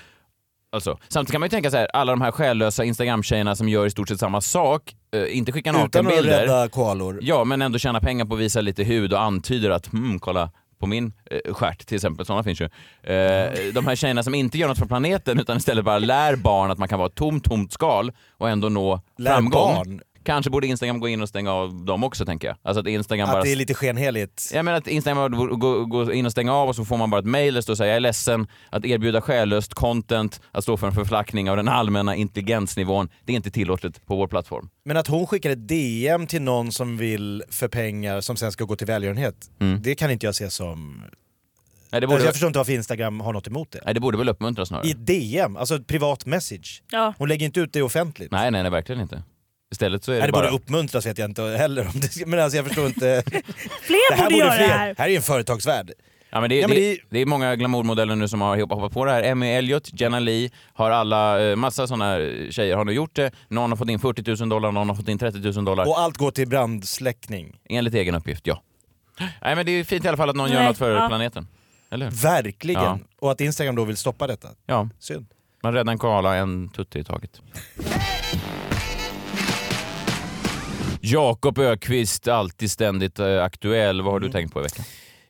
Speaker 3: Alltså, samtidigt kan man ju tänka så här, alla de här själlösa Instagram-tjejerna som gör i stort sett samma sak, eh, inte skickar
Speaker 2: Utan att
Speaker 3: nakenbilder.
Speaker 2: rädda koalor.
Speaker 3: Ja, men ändå tjäna pengar på att visa lite hud och antyder att hmm, kolla på min eh, stjärt till exempel, sådana finns ju. Eh, de här tjejerna som inte gör något för planeten utan istället bara lär barn att man kan vara ett tomt, tomt skal och ändå nå
Speaker 2: Lär
Speaker 3: framgång.
Speaker 2: barn?
Speaker 3: Kanske borde Instagram gå in och stänga av dem också tänker jag. Alltså att Instagram bara...
Speaker 2: Att det är lite skenheligt.
Speaker 3: Jag menar att Instagram bara borde gå, gå in och stänga av och så får man bara ett mail där det står såhär, jag är ledsen att erbjuda skällöst content, att stå för en förflackning av den allmänna intelligensnivån, det är inte tillåtet på vår plattform.
Speaker 2: Men att hon skickar ett DM till någon som vill för pengar som sen ska gå till välgörenhet, det kan inte jag se som...
Speaker 3: Nej, det
Speaker 2: Alltså,
Speaker 3: borde,
Speaker 2: jag förstår inte varför Instagram har något emot det.
Speaker 3: nej, det borde väl uppmuntras snarare.
Speaker 2: I ett DM, alltså ett privat message.
Speaker 4: Ja.
Speaker 2: Hon lägger inte ut det offentligt.
Speaker 3: Nej, nej, nej verkligen inte. Istället så är
Speaker 2: Nej,
Speaker 3: det
Speaker 2: det
Speaker 3: bara...
Speaker 2: borde uppmuntras vet jag inte heller om det, men alltså jag förstår inte.
Speaker 4: Fler borde göra det här.
Speaker 2: Här är ju en företagsvärld.
Speaker 3: Ja, men det,
Speaker 2: Ja,
Speaker 3: det,
Speaker 2: men
Speaker 3: det,
Speaker 2: det-
Speaker 3: är... många glamourmodeller nu som har hoppat hoppat på det här. Emmy Elliot, Jenna Lee, har alla, eh, massa sådana tjejer har nu gjort det. Någon har fått in 40 000 dollar, någon har fått in 30 000 dollar.
Speaker 2: Och allt går till brandsläckning.
Speaker 3: Enligt egen uppgift, ja. Nej men det är fint i alla fall att någon gör
Speaker 4: Nej,
Speaker 3: något för
Speaker 4: ja.
Speaker 3: planeten. Eller hur?
Speaker 2: Verkligen.
Speaker 3: Ja.
Speaker 2: Och att Instagram då vill stoppa detta.
Speaker 3: Ja,
Speaker 2: Synd.
Speaker 3: man räddar en koala en tutte i taget. Jakob Ökvist, alltid ständigt eh, aktuell. Vad har du tänkt på i veckan?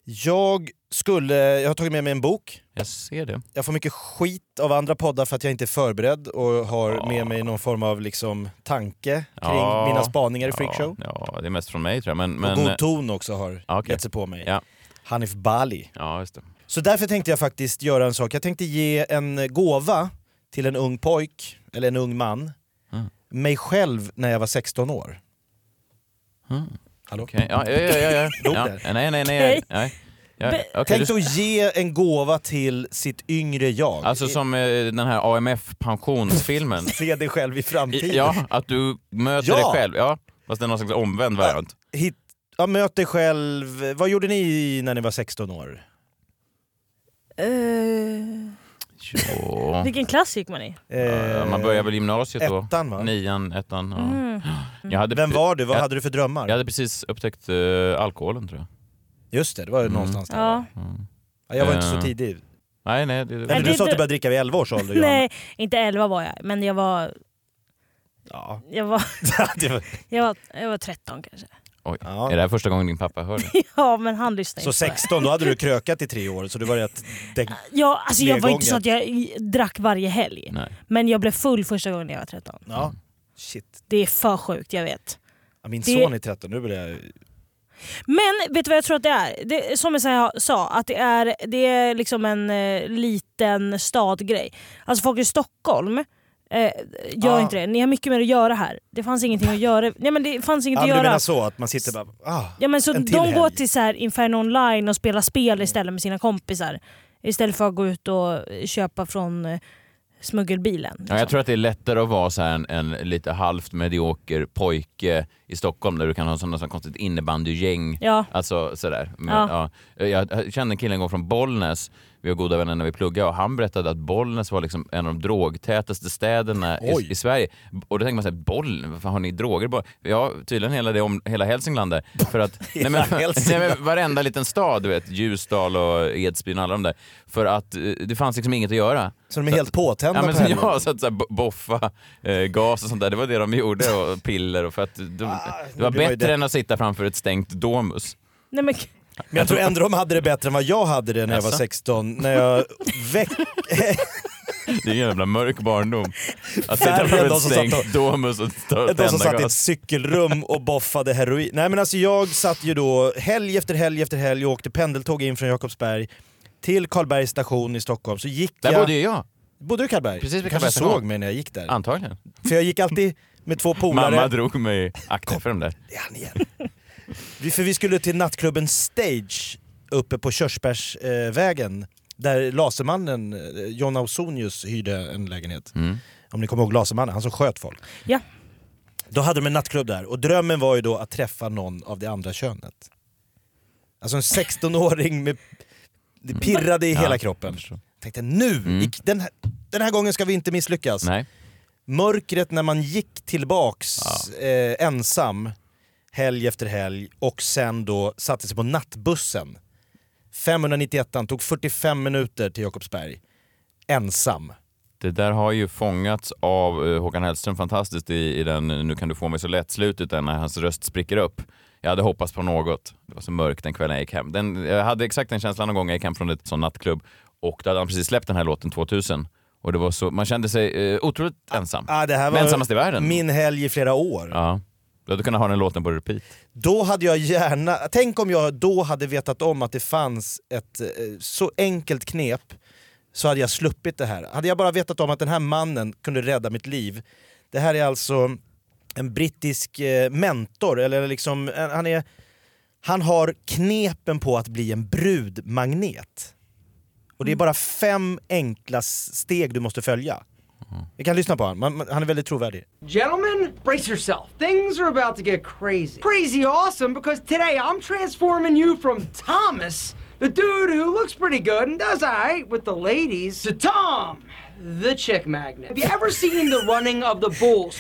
Speaker 2: Jag skulle, jag har tagit med mig en bok.
Speaker 3: Jag ser det.
Speaker 2: Jag får mycket skit av andra poddar för att jag inte är förberedd och har
Speaker 3: Ja.
Speaker 2: med mig någon form av liksom tanke kring
Speaker 3: Ja.
Speaker 2: mina spaningar i freakshow.
Speaker 3: Ja, ja, det är mest från mig tror jag. Men,
Speaker 2: Och
Speaker 3: men, eh,
Speaker 2: god ton också har
Speaker 3: Ja, okej.
Speaker 2: gett sig på mig.
Speaker 3: Ja.
Speaker 2: Hanif Bali.
Speaker 3: ja, just det.
Speaker 2: Så därför tänkte jag faktiskt göra en sak. Jag tänkte ge en gåva till en ung pojk, eller en ung man.
Speaker 3: Mm.
Speaker 2: Mig själv när jag var 16 år.
Speaker 3: Mm.
Speaker 2: Hallå?
Speaker 3: Okej, ja, ja, ja, ja,
Speaker 2: Dog
Speaker 3: ja. ja.
Speaker 2: där.
Speaker 3: Nej, nej, nej.
Speaker 4: Okej.
Speaker 3: nej. Ja,
Speaker 4: Be-
Speaker 3: okej,
Speaker 2: Tänk
Speaker 3: du,
Speaker 2: att ge en gåva till sitt yngre jag.
Speaker 3: alltså som eh, den här AMF-pensionsfilmen.
Speaker 2: Se dig själv i framtiden.
Speaker 3: I- ja, att du möter
Speaker 2: Ja.
Speaker 3: dig själv. Ja, fast det är någon slags omvänd variant.
Speaker 2: Hit, ja, möt dig själv. Vad gjorde ni när ni var 16 år?
Speaker 4: Eh,
Speaker 3: Ja.
Speaker 4: vilken klass gick man i?
Speaker 3: Ja, Man börjar väl gymnasiet då.
Speaker 2: ettan va?
Speaker 3: Nian, ettan. Ja.
Speaker 4: Mm.
Speaker 3: Jag, hade,
Speaker 2: Vem var du? Vad
Speaker 3: Jag-
Speaker 2: hade du för drömmar?
Speaker 3: jag hade precis upptäckt eh, alkoholen tror jag.
Speaker 2: Just det, det var ju
Speaker 3: Mm.
Speaker 2: någonstans där.
Speaker 4: Ja.
Speaker 2: va?
Speaker 3: Mm.
Speaker 2: Ja, Jag var inte
Speaker 3: Eh.
Speaker 2: så tidig.
Speaker 3: Nej, nej. Det,
Speaker 2: Nej, men du
Speaker 4: det-
Speaker 2: sa att du började dricka vid 11 års ålder Johanna.
Speaker 4: Nej, inte 11 var jag, men jag var,
Speaker 2: Ja.
Speaker 4: jag var,
Speaker 2: Det var-
Speaker 4: jag var, jag var 13 kanske.
Speaker 3: Oj.
Speaker 2: Ja.
Speaker 3: Är det här första gången din pappa hör det?
Speaker 4: Ja, men han lyssnade
Speaker 2: Så
Speaker 4: inte på det.
Speaker 2: 16, då hade du krökat i tre år så du var rätt däck.
Speaker 4: Ja, alltså jag var inte så
Speaker 2: Nedgången.
Speaker 4: att jag drack varje helg.
Speaker 2: Mm.
Speaker 3: Nej.
Speaker 4: Men jag blev full första gången jag var 13.
Speaker 2: Ja. Shit.
Speaker 4: Det är för sjukt, jag vet.
Speaker 2: Ja, Min
Speaker 4: Det-
Speaker 2: son är 13, nu börjar jag...
Speaker 4: Men vet du vad jag tror att det är? Det, som jag sa- sa, att det är, det är liksom en eh, liten stadgrej. Alltså folk i Stockholm eh, gör
Speaker 2: Ah.
Speaker 4: inte det. Ni har mycket mer att göra här. Det fanns ingenting att göra. Nej men det fanns inget
Speaker 2: Ja,
Speaker 4: att
Speaker 2: men du
Speaker 4: göra.
Speaker 2: menar så, att man sitter bara... Ah.
Speaker 4: Ja, men så
Speaker 2: En
Speaker 4: de
Speaker 2: till helg.
Speaker 4: går till så här Inferno online och spelar spel istället med sina kompisar. Istället för att gå ut och köpa från eh, smuggelbilen.
Speaker 3: Ja, jag
Speaker 4: liksom.
Speaker 3: tror att det är lättare att vara så här en, en lite halvt medioker pojke i Stockholm där du kan ha sådana som konstigt innebandygäng.
Speaker 4: ja.
Speaker 3: Alltså sådär. Men, ja.
Speaker 4: Ja.
Speaker 3: Jag kände en kille en gång från Bollnäs Vi var goda vänner när vi pluggade och han berättade att Bollnäs var liksom en av de drogtätaste städerna i,
Speaker 2: Oj.
Speaker 3: i Sverige. Och då tänker man såhär, Bollnäs, vad fan har ni droger? i Boll-?" Ja, tydligen hela, det, om, hela Hälsingland där. För att, nej, men, nej,
Speaker 2: Hälsingland.
Speaker 3: men, varenda liten stad, du vet, Ljusdal och Edsbyn och alla de där. För att eh, det fanns liksom inget att göra.
Speaker 2: Så de är helt påtända
Speaker 3: Ja, men
Speaker 2: på
Speaker 3: så,
Speaker 2: helgen.
Speaker 3: ja, så att så här, bo- boffa, eh, gas och sånt där, det var det de gjorde och piller. Och för att de, det var
Speaker 2: Ah, det var ju
Speaker 3: bättre
Speaker 2: det.
Speaker 3: än att sitta framför ett stängt Domus.
Speaker 4: Nej, men,
Speaker 2: Men jag tror ändå de hade det bättre än vad jag hade det när jag var
Speaker 3: Jaså?
Speaker 2: 16. När jag väck...
Speaker 3: Det är en jävla mörk barndom.
Speaker 2: Färre
Speaker 3: Att sitta
Speaker 2: än
Speaker 3: framför
Speaker 2: de
Speaker 3: ett
Speaker 2: som
Speaker 3: stängt
Speaker 2: satt
Speaker 3: Domus och ta-
Speaker 2: De som
Speaker 3: tända
Speaker 2: satt i ett
Speaker 3: gas.
Speaker 2: cykelrum och boffade heroin. Nej men alltså jag satt ju då helg efter helg efter helg och åkte pendeltåg in från Jakobsberg till Karlbergs station i Stockholm. Så gick
Speaker 3: Där
Speaker 2: jag...
Speaker 3: bodde ju jag,
Speaker 2: Bodde du i Karlberg?
Speaker 3: Precis vid
Speaker 2: du kanske
Speaker 3: Karlbergs station.
Speaker 2: såg mig när jag gick där.
Speaker 3: antagligen.
Speaker 2: För jag gick alltid med två polare.
Speaker 3: Mamma drog mig, akta för dem där.
Speaker 2: Det är han igen. vi, för vi skulle till nattklubben Stage uppe på Körsbärsvägen. Eh, vägen, där Lasermannen, eh, John Ausonius, hyrde en lägenhet.
Speaker 3: Mm.
Speaker 2: Om ni kommer ihåg Lasermannen, han som sköt folk.
Speaker 4: Ja.
Speaker 2: Då hade de en nattklubb där och drömmen var ju då att träffa någon av det andra könet. Alltså en 16-åring med... Det pirrade i
Speaker 3: Ja,
Speaker 2: hela
Speaker 3: jag
Speaker 2: kroppen.
Speaker 3: förstår.
Speaker 2: Tänkte nu,
Speaker 3: Mm.
Speaker 2: i- den, här, den här gången ska vi inte misslyckas
Speaker 3: Nej.
Speaker 2: mörkret när man gick tillbaks
Speaker 3: Ja.
Speaker 2: eh, ensam helg efter helg och sen då satte sig på nattbussen. 591 tog 45 minuter till Jakobsberg. Ensam.
Speaker 3: Det där har ju fångats av eh, Håkan Hellström fantastiskt i, i den eh, Nu kan du få mig så lätt-slutet där när hans röst spricker upp. Jag hade hoppats på något. Det var så mörkt den kvällen jag gick hem. Den, jag hade exakt den känslan någon gång jag gick hem från ett sån nattklubb och då hade han precis släppt den här låten 2000. Och det var så, man kände sig eh, otroligt ensam.
Speaker 2: Ah, det här
Speaker 3: Men ensammast i
Speaker 2: var
Speaker 3: världen.
Speaker 2: min helg i flera år.
Speaker 3: Ja. Du hade kunnat ha den låten på repeat.
Speaker 2: Då hade jag gärna... Tänk om jag då hade vetat om att det fanns ett eh, så enkelt knep så hade jag sluppit det här. Hade jag bara vetat om att den här mannen kunde rädda mitt liv. Det här är alltså en brittisk eh, mentor, eller liksom... eh, Han, är, han har knepen på att bli en brudmagnet. Och det
Speaker 4: Mm.
Speaker 2: är bara fem enkla s- steg du måste följa.
Speaker 4: Mm.
Speaker 2: Vi kan lyssna på honom, Man- man- han är väldigt trovärdig.
Speaker 1: Gentlemen, brace yourself. Things are about to get crazy. Crazy awesome because today I'm transforming you from Thomas, the dude who looks pretty good and does all right with the ladies, to Tom, the chick magnet. Have you ever seen the running of the bulls?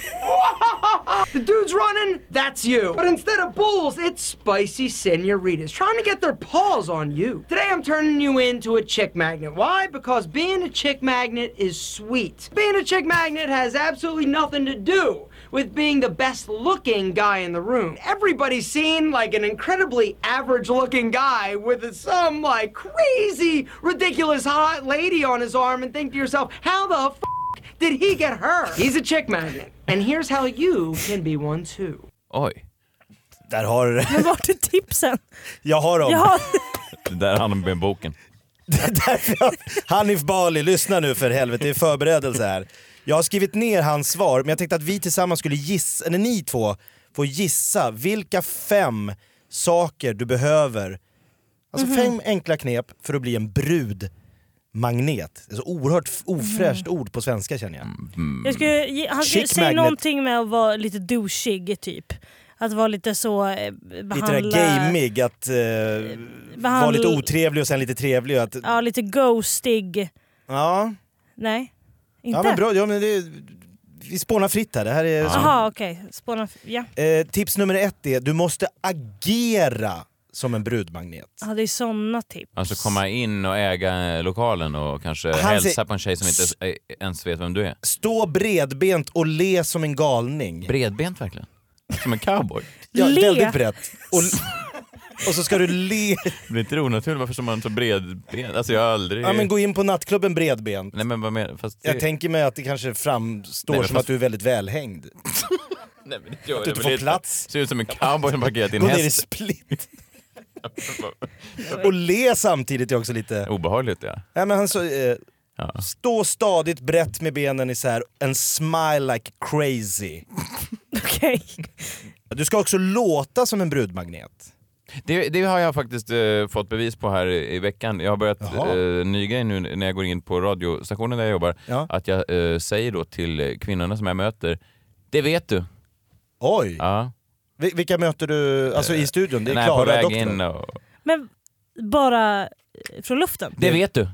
Speaker 1: the dude's running, that's you. But instead of bulls, it's spicy senoritas trying to get their paws on you. Today I'm turning you into a chick magnet. Why? Because being a chick magnet is sweet. Being a chick magnet has absolutely nothing to do with being the best looking guy in the room. Everybody's seen like an incredibly average looking guy with some like crazy, ridiculous hot lady on his arm and think to yourself, how the f did he get her? He's a chick magnet. And here's how you can be one too.
Speaker 3: Oj,
Speaker 2: Där har du det.
Speaker 4: men vart är tipsen?
Speaker 2: Jag har dem.
Speaker 4: Jag har,
Speaker 3: det där handlar med boken.
Speaker 2: Därför jag- Hanif Bali, lyssna nu för helvete, det är förberedelse här. Jag har skrivit ner hans svar, men jag tänkte att vi tillsammans skulle gissa, eller ni två, får gissa vilka fem saker du behöver. Alltså
Speaker 4: Mhm.
Speaker 2: fem enkla knep för att bli en brudmagnet. Alltså oerhört f- ofräscht
Speaker 4: Mm.
Speaker 2: ord på svenska känner jag.
Speaker 4: jag skulle, ge- han skulle
Speaker 2: Chick
Speaker 4: säga
Speaker 2: magnet.
Speaker 4: någonting med att vara lite douchig typ. Att vara lite så... eh,
Speaker 2: Lite
Speaker 4: Behandla,
Speaker 2: det där gaming, att eh, vara lite otrevlig och sen lite trevlig. och Att,
Speaker 4: Ja, lite ghostig.
Speaker 2: ja.
Speaker 4: Nej, inte?
Speaker 2: ja, men bra. Ja, men det, vi spånar fritt här. Det här är
Speaker 4: Jaha okej, spåna... Ja.
Speaker 2: Eh, tips nummer ett är du måste agera som en brudmagnet.
Speaker 4: ja, det är såna tips.
Speaker 3: Alltså komma in och äga eh, lokalen och kanske
Speaker 2: Han
Speaker 3: hälsa
Speaker 2: säger-
Speaker 3: på en tjej som inte eh, ens vet vem du är.
Speaker 2: Stå bredbent och le som en galning.
Speaker 3: Bredbent verkligen. Som en cowboy.
Speaker 2: Ja,
Speaker 4: Le.
Speaker 2: väldigt brett. Och, och så ska du le.
Speaker 3: Blir inte det onaturligt? Varför står man så bredbent? Alltså jag har aldrig...
Speaker 2: Ja, men gå in på nattklubben bredbent.
Speaker 3: Nej men vad menar Fast det...
Speaker 2: Jag tänker mig att det kanske framstår
Speaker 3: Nej, men
Speaker 2: som
Speaker 3: fast-
Speaker 2: att du är väldigt välhängd.
Speaker 3: Nej, men det gör
Speaker 2: du inte
Speaker 3: det, men
Speaker 2: får
Speaker 3: det är-
Speaker 2: plats.
Speaker 3: Ser ut som en cowboy som parkerat i en
Speaker 2: Gå ner i
Speaker 3: häst.
Speaker 2: split. Och le samtidigt är också lite...
Speaker 3: Obehagligt ja.
Speaker 2: Nej, men han så, eh,
Speaker 3: Ja.
Speaker 2: Stå stadigt brett med benen isär and smile like crazy.
Speaker 4: Okej.
Speaker 2: Du ska också låta som en brudmagnet.
Speaker 3: Det, det har jag faktiskt eh, fått bevis på här i, i veckan. Jag har börjat
Speaker 2: Jaha.
Speaker 3: eh, ny grej nu när jag går in på radiostationen där jag jobbar.
Speaker 2: Ja.
Speaker 3: Att jag eh, säger då till eh, kvinnorna som jag möter, det vet du.
Speaker 2: Oj!
Speaker 3: Ja.
Speaker 2: Vi- Vilka möter du alltså, i studion? Det är
Speaker 3: när jag är
Speaker 2: Klara,
Speaker 3: på väg
Speaker 2: doktorn.
Speaker 3: in och...
Speaker 4: Men bara eh, från luften?
Speaker 3: Det vet du.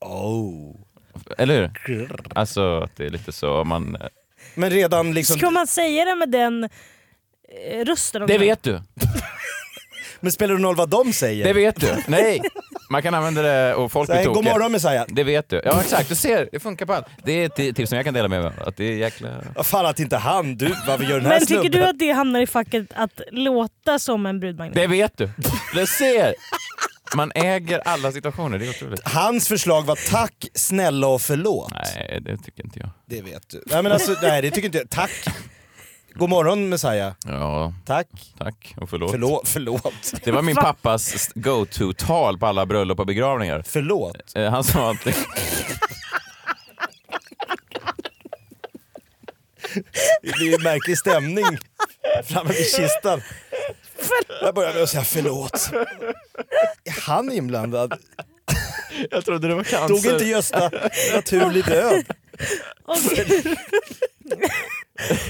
Speaker 2: Oh.
Speaker 3: Eller hur? Alltså att det är lite så man...
Speaker 2: Men redan liksom...
Speaker 4: Ska man säga det med den eh, rösten?
Speaker 3: Det vet du!
Speaker 2: Men spelar det någon roll vad de säger?
Speaker 3: Det vet du! Nej! Man kan använda det och folk
Speaker 2: Så här,
Speaker 3: blir
Speaker 2: God
Speaker 3: tokiga.
Speaker 2: morgon Messiah!
Speaker 3: Det vet du. Ja exakt, du ser. Det funkar på allt. Det är ett ti- tips som jag kan dela med mig av. Att det är jäkla...
Speaker 2: Vad fan att inte han, du, varför gör den här
Speaker 4: Men tycker
Speaker 2: snubben?
Speaker 4: du att det hamnar i facket att låta som en brudmagnet?
Speaker 3: Det vet du! Du ser! Man äger alla situationer, det är otroligt.
Speaker 2: Hans förslag var tack, snälla och förlåt.
Speaker 3: Nej, det tycker inte jag.
Speaker 2: Det vet du. Nej men alltså, nej det tycker inte jag. Tack! God morgon Messiah.
Speaker 3: Ja,
Speaker 2: Tack.
Speaker 3: tack och förlåt.
Speaker 2: Förlåt, förlåt.
Speaker 3: Det var min pappas go-to-tal på alla bröllop och begravningar.
Speaker 2: Förlåt.
Speaker 3: Eh, Han sa alltid...
Speaker 2: Det blir ju märklig stämning framme vid kistan. Jag börjar med att säga förlåt. Är han inblandad?
Speaker 3: Jag trodde det var cancer.
Speaker 2: Dog inte Gösta naturlig död?
Speaker 4: Och-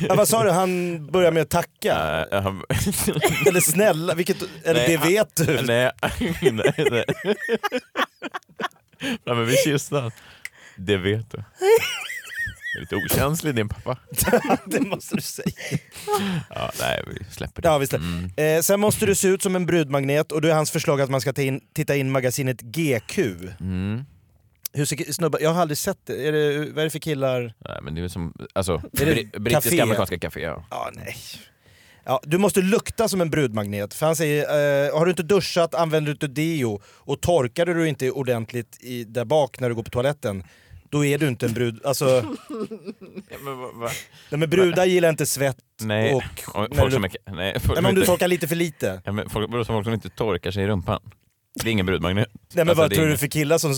Speaker 2: Ja, vad sa du, han börjar med att tacka?
Speaker 3: Nej, Eh, han-
Speaker 2: Eller snälla, vilket, eller
Speaker 3: Nej,
Speaker 2: det
Speaker 3: han-
Speaker 2: vet du?
Speaker 3: nej, nej, nej. nej men vid kistan. Det vet du. Det är lite okänslig din pappa.
Speaker 2: det måste du säga.
Speaker 3: Ja, nej, vi släpper det.
Speaker 2: Ja, visst.
Speaker 3: Mm.
Speaker 2: Eh, sen måste du se ut som en brudmagnet och då är hans förslag att man ska ta in, titta in magasinet GQ.
Speaker 3: Mm.
Speaker 2: Hur ser snubbar, jag har aldrig sett det. Är det vad är det för killar?
Speaker 3: Nej, men det är väl som alltså,
Speaker 2: Är det
Speaker 3: bri- brittiska
Speaker 2: café?
Speaker 3: amerikanska café. Ja.
Speaker 2: Ja, nej. Ja, du måste lukta som en brudmagnet. För han säger, eh, har du inte duschat, använder du inte deo och torkade du inte ordentligt i, där bak när du går på toaletten, då är du inte en brud. Alltså, nej, men brudar gillar inte svett.
Speaker 3: Nej,
Speaker 2: Och
Speaker 3: om-
Speaker 2: när
Speaker 3: folk
Speaker 2: du-
Speaker 3: som är... Nej, folk
Speaker 2: Nej,
Speaker 3: som
Speaker 2: men om du
Speaker 3: inte-
Speaker 2: torkar lite för lite.
Speaker 3: Ja, men folk, vadå, som folk som inte torkar sig i rumpan. Det är ingen brudmagnet.
Speaker 2: Nej, men
Speaker 3: Alltså,
Speaker 2: vad
Speaker 3: det är
Speaker 2: tror du
Speaker 3: inget-
Speaker 2: för killar som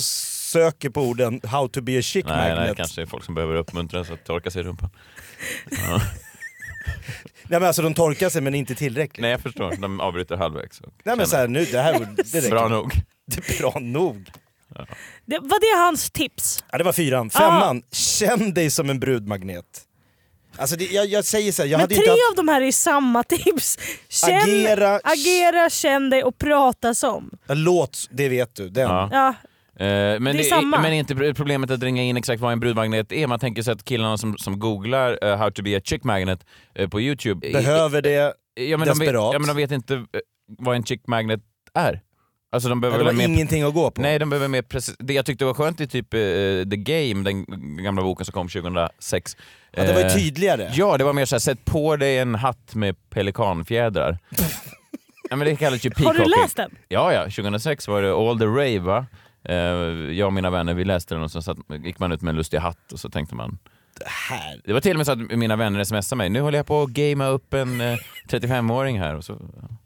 Speaker 2: söker på orden how to be a chic
Speaker 3: Nej, nej,
Speaker 2: magnet?
Speaker 3: kanske folk som behöver uppmuntras att torka sig i rumpan.
Speaker 2: Nej, men alltså de torkar sig men inte tillräckligt.
Speaker 3: Nej, jag förstår. De avbryter halvvägs. och
Speaker 2: Nej men
Speaker 3: känner,
Speaker 2: såhär, nu, det här det räcker.
Speaker 3: Bra nog.
Speaker 2: Det är bra nog.
Speaker 4: det, var det hans tips?
Speaker 2: Ja, det var fyran. Femman,
Speaker 4: Ah.
Speaker 2: känn dig som en brudmagnet. Alltså det, jag, jag säger såhär, jag
Speaker 4: Men
Speaker 2: hade
Speaker 4: tre
Speaker 2: inte... haft-
Speaker 4: av de här är samma tips. Känn,
Speaker 2: Agera-
Speaker 4: agera, känn dig och prata som.
Speaker 2: Ja, Låt, det vet du. Den.
Speaker 3: Ja.
Speaker 4: Ja,
Speaker 3: Eh, men det är
Speaker 4: samma.
Speaker 3: Men inte pr- problemet att ringa in exakt vad en brudmagnet är. Man tänker sig att killarna som, som googlar eh, “How to be a chick magnet” eh, på YouTube... eh,
Speaker 2: Behöver det.
Speaker 3: eh, ja, men de vet,
Speaker 2: desperat.
Speaker 3: ja, men de vet inte eh, vad en chick magnet är. Alltså de
Speaker 2: Ja,
Speaker 3: behöver
Speaker 2: Det
Speaker 3: väl
Speaker 2: var
Speaker 3: mer...
Speaker 2: ingenting att gå på.
Speaker 3: Nej, de behöver mer precis... Det jag tyckte var skönt i typ eh, The Game, den gamla boken som kom 2006.
Speaker 2: Ja, det var ju
Speaker 3: Eh,
Speaker 2: tydligare.
Speaker 3: Ja, det var mer såhär, sätt på dig en hatt med pelikanfjädrar. ja, men det kallas ju
Speaker 4: har
Speaker 3: peacocking.
Speaker 4: du läst den?
Speaker 3: Ja, ja. 2006 var det All the Rave, va? Eh, jag och mina vänner vi läste den och så satt, gick man ut med en lustig hatt och så tänkte man...
Speaker 2: Här.
Speaker 3: Det var till och med så att mina vänner smsade mig. Nu håller jag på att gamea upp en eh, 35-åring här. Och så,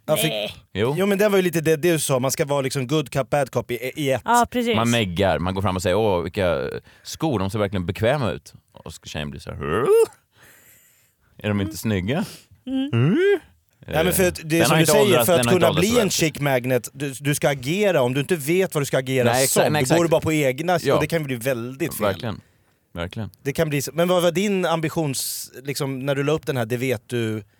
Speaker 2: Jag fick-
Speaker 3: jo.
Speaker 2: Jo men det var ju lite det du sa, man ska vara liksom good cop, bad cop i, i
Speaker 3: Eh.
Speaker 2: ett.
Speaker 4: Ja, precis.
Speaker 3: Man neggar, man går fram och säger åh vilka skor, de ser verkligen bekväma ut. Och så tjejen blir så här, "Hur? är de inte snygga? Hur?
Speaker 2: Nej, men för att, det är
Speaker 3: Den
Speaker 2: som
Speaker 3: har
Speaker 2: du
Speaker 3: inte
Speaker 2: säger,
Speaker 3: åldrats-
Speaker 2: för
Speaker 3: den
Speaker 2: att
Speaker 3: har inte
Speaker 2: kunna
Speaker 3: åldrats
Speaker 2: bli
Speaker 3: väl.
Speaker 2: en chic magnet, du, du ska agera. Om du inte vet vad du ska agera
Speaker 3: Nej, exakt,
Speaker 2: som,
Speaker 3: nej,
Speaker 2: då
Speaker 3: exakt.
Speaker 2: går du bara på egna
Speaker 3: Ja.
Speaker 2: och det kan bli väldigt fel.
Speaker 3: Verkligen. Verkligen.
Speaker 2: Det kan bli, så- men vad var din ambitions, liksom, när du la upp den här det vet du-trenden?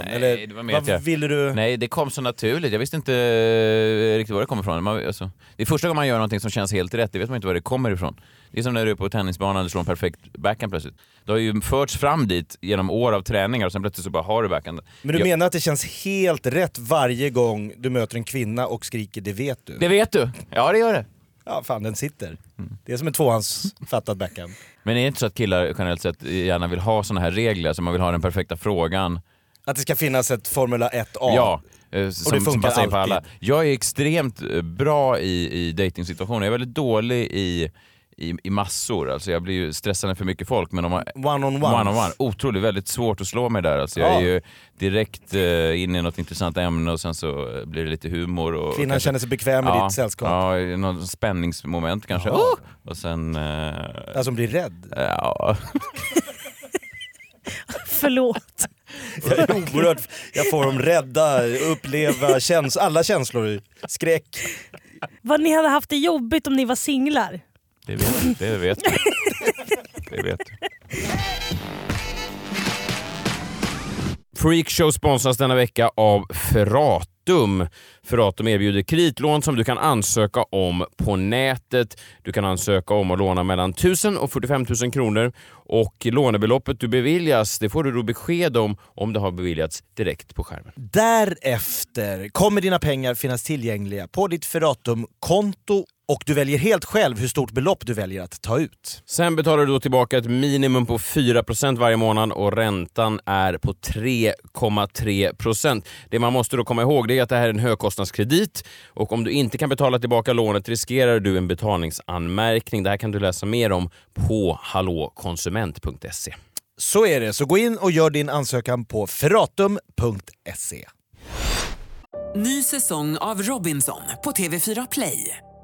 Speaker 3: Ja. Nej,
Speaker 2: Eller
Speaker 3: det var mer att jag-
Speaker 2: vad ville du?
Speaker 3: Nej, det kom så naturligt. Jag visste inte eh, riktigt var det kom ifrån. Man, alltså, det är första gången man gör någonting som känns helt rätt, det vet man inte var det kommer ifrån. Det är som när du är på tennisbanan och slår en perfekt backhand plötsligt. Det har ju förts fram dit genom år av träningar och sen plötsligt så bara har du backhand.
Speaker 2: Men du
Speaker 3: Jag-
Speaker 2: menar att det känns helt rätt varje gång du möter en kvinna och skriker det vet du?
Speaker 3: Det vet du! Ja, det gör det.
Speaker 2: Ja, fan den sitter.
Speaker 3: Mm.
Speaker 2: Det är som en tvåhandsfattad backhand.
Speaker 3: Men är det inte så att killar generellt sett gärna vill ha såna här regler, så man vill ha den perfekta frågan?
Speaker 2: Att det ska finnas ett Formula 1A.
Speaker 3: Ja. eh, Som,
Speaker 2: det funkar
Speaker 3: som passar in på
Speaker 2: alltid.
Speaker 3: alla. Jag är extremt eh, bra i, i dejtingsituationer. Jag är väldigt dålig i, i, i massor. Alltså jag blir ju stressad när för mycket folk. Men om man,
Speaker 2: One on one.
Speaker 3: One on one. Otroligt, väldigt svårt att slå mig där. Alltså jag
Speaker 2: Ja.
Speaker 3: är ju direkt eh, inne i något intressant ämne och sen så eh, blir det lite humor. Och,
Speaker 2: Kvinnan
Speaker 3: kanske-
Speaker 2: känner sig bekväm i
Speaker 3: Ja,
Speaker 2: ditt sällskap.
Speaker 3: Ja, något spänningsmoment kanske.
Speaker 2: Ja.
Speaker 3: Oh! Och sen... Eh,
Speaker 2: Alltså hon blir rädd.
Speaker 3: ja.
Speaker 4: Förlåt.
Speaker 2: Jag är oerhört... Jag får dem rädda, uppleva käns alla känslor. Skräck.
Speaker 4: Vad ni hade haft det jobbigt om ni var singlar.
Speaker 3: Det vet, det vet du. Det vet du. Freakshow sponsras denna vecka av Ferrato. Faktum för att de erbjuder kreditlån som du kan ansöka om på nätet. Du kan ansöka om att låna mellan 1000 och 45 000 kronor och lånebeloppet du beviljas det får du då besked om om det har beviljats direkt på skärmen.
Speaker 2: Därefter kommer dina pengar finnas tillgängliga på ditt Ferratum-konto och du väljer helt själv hur stort belopp du väljer att ta ut.
Speaker 3: Sen betalar du då tillbaka ett minimum på 4 varje månad och räntan är på 3,3 Det man måste då komma ihåg det är att det här är en högkostnadskredit och om du inte kan betala tillbaka lånet riskerar du en betalningsanmärkning. Det här kan du läsa mer om på hallåkonsument.se.
Speaker 2: Så är det, så gå in och gör din ansökan på ferratum.se.
Speaker 5: Ny säsong av Robinson på TV4 Play.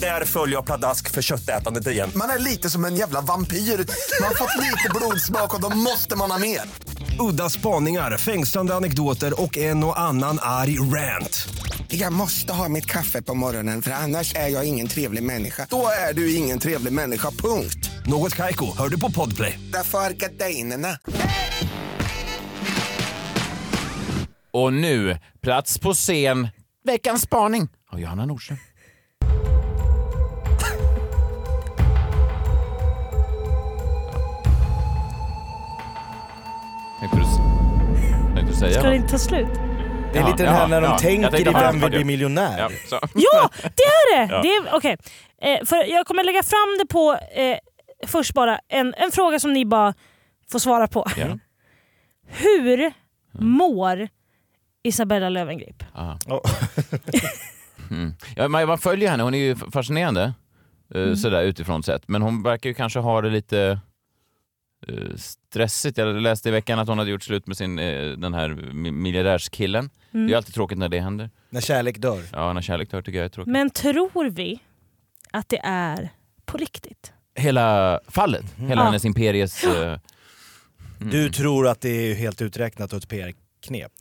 Speaker 6: Där följer jag pladask för köttätandet igen.
Speaker 7: Man är lite som en jävla vampyr. Man har fått lite blodsmak och då måste man ha mer.
Speaker 6: Udda spaningar, fängslande anekdoter och en och annan arg rant.
Speaker 7: Jag måste ha mitt kaffe på morgonen för annars är jag ingen trevlig människa. Då är du ingen trevlig människa, punkt.
Speaker 6: Något Kaiko, hör du på Podplay.
Speaker 7: Därför är gardinerna.
Speaker 3: Och nu, plats på scen, veckans spaning av Johanna Nordström. Tänkte du, tänkte du säga
Speaker 4: Ska det
Speaker 3: något?
Speaker 4: inte ta slut?
Speaker 2: Det är
Speaker 3: Ja,
Speaker 2: lite den
Speaker 3: ja,
Speaker 2: här när de
Speaker 3: ja. Jag
Speaker 2: tänker
Speaker 3: tänkte
Speaker 2: i
Speaker 3: fan,
Speaker 2: Vem vill
Speaker 3: fuck
Speaker 2: bli
Speaker 3: you.
Speaker 2: miljonär?
Speaker 3: Ja, så.
Speaker 4: Ja, det är det!
Speaker 3: Ja.
Speaker 4: det är, okej. eh, för jag kommer lägga fram det på, eh, först bara, en, en fråga som ni bara får svara på.
Speaker 3: Ja. Mm.
Speaker 4: Hur mår Isabella Löwengrip?
Speaker 2: Ja.
Speaker 3: Ja, man, man följer henne, hon är ju fascinerande eh, sådär utifrån sett. Men hon verkar ju kanske ha det lite eh, stressigt. Jag läste i veckan att hon hade gjort slut med sin, eh, den här mi- miljardärskillen. Det är ju alltid tråkigt när det händer.
Speaker 2: När kärlek dör.
Speaker 3: Ja, när kärlek dör tycker jag är tråkigt.
Speaker 4: Men tror vi att det är på riktigt?
Speaker 3: Hela fallet, hela
Speaker 4: Ja.
Speaker 3: hennes imperies... eh,
Speaker 2: Du tror att det är helt uträknat och ett PR-knep.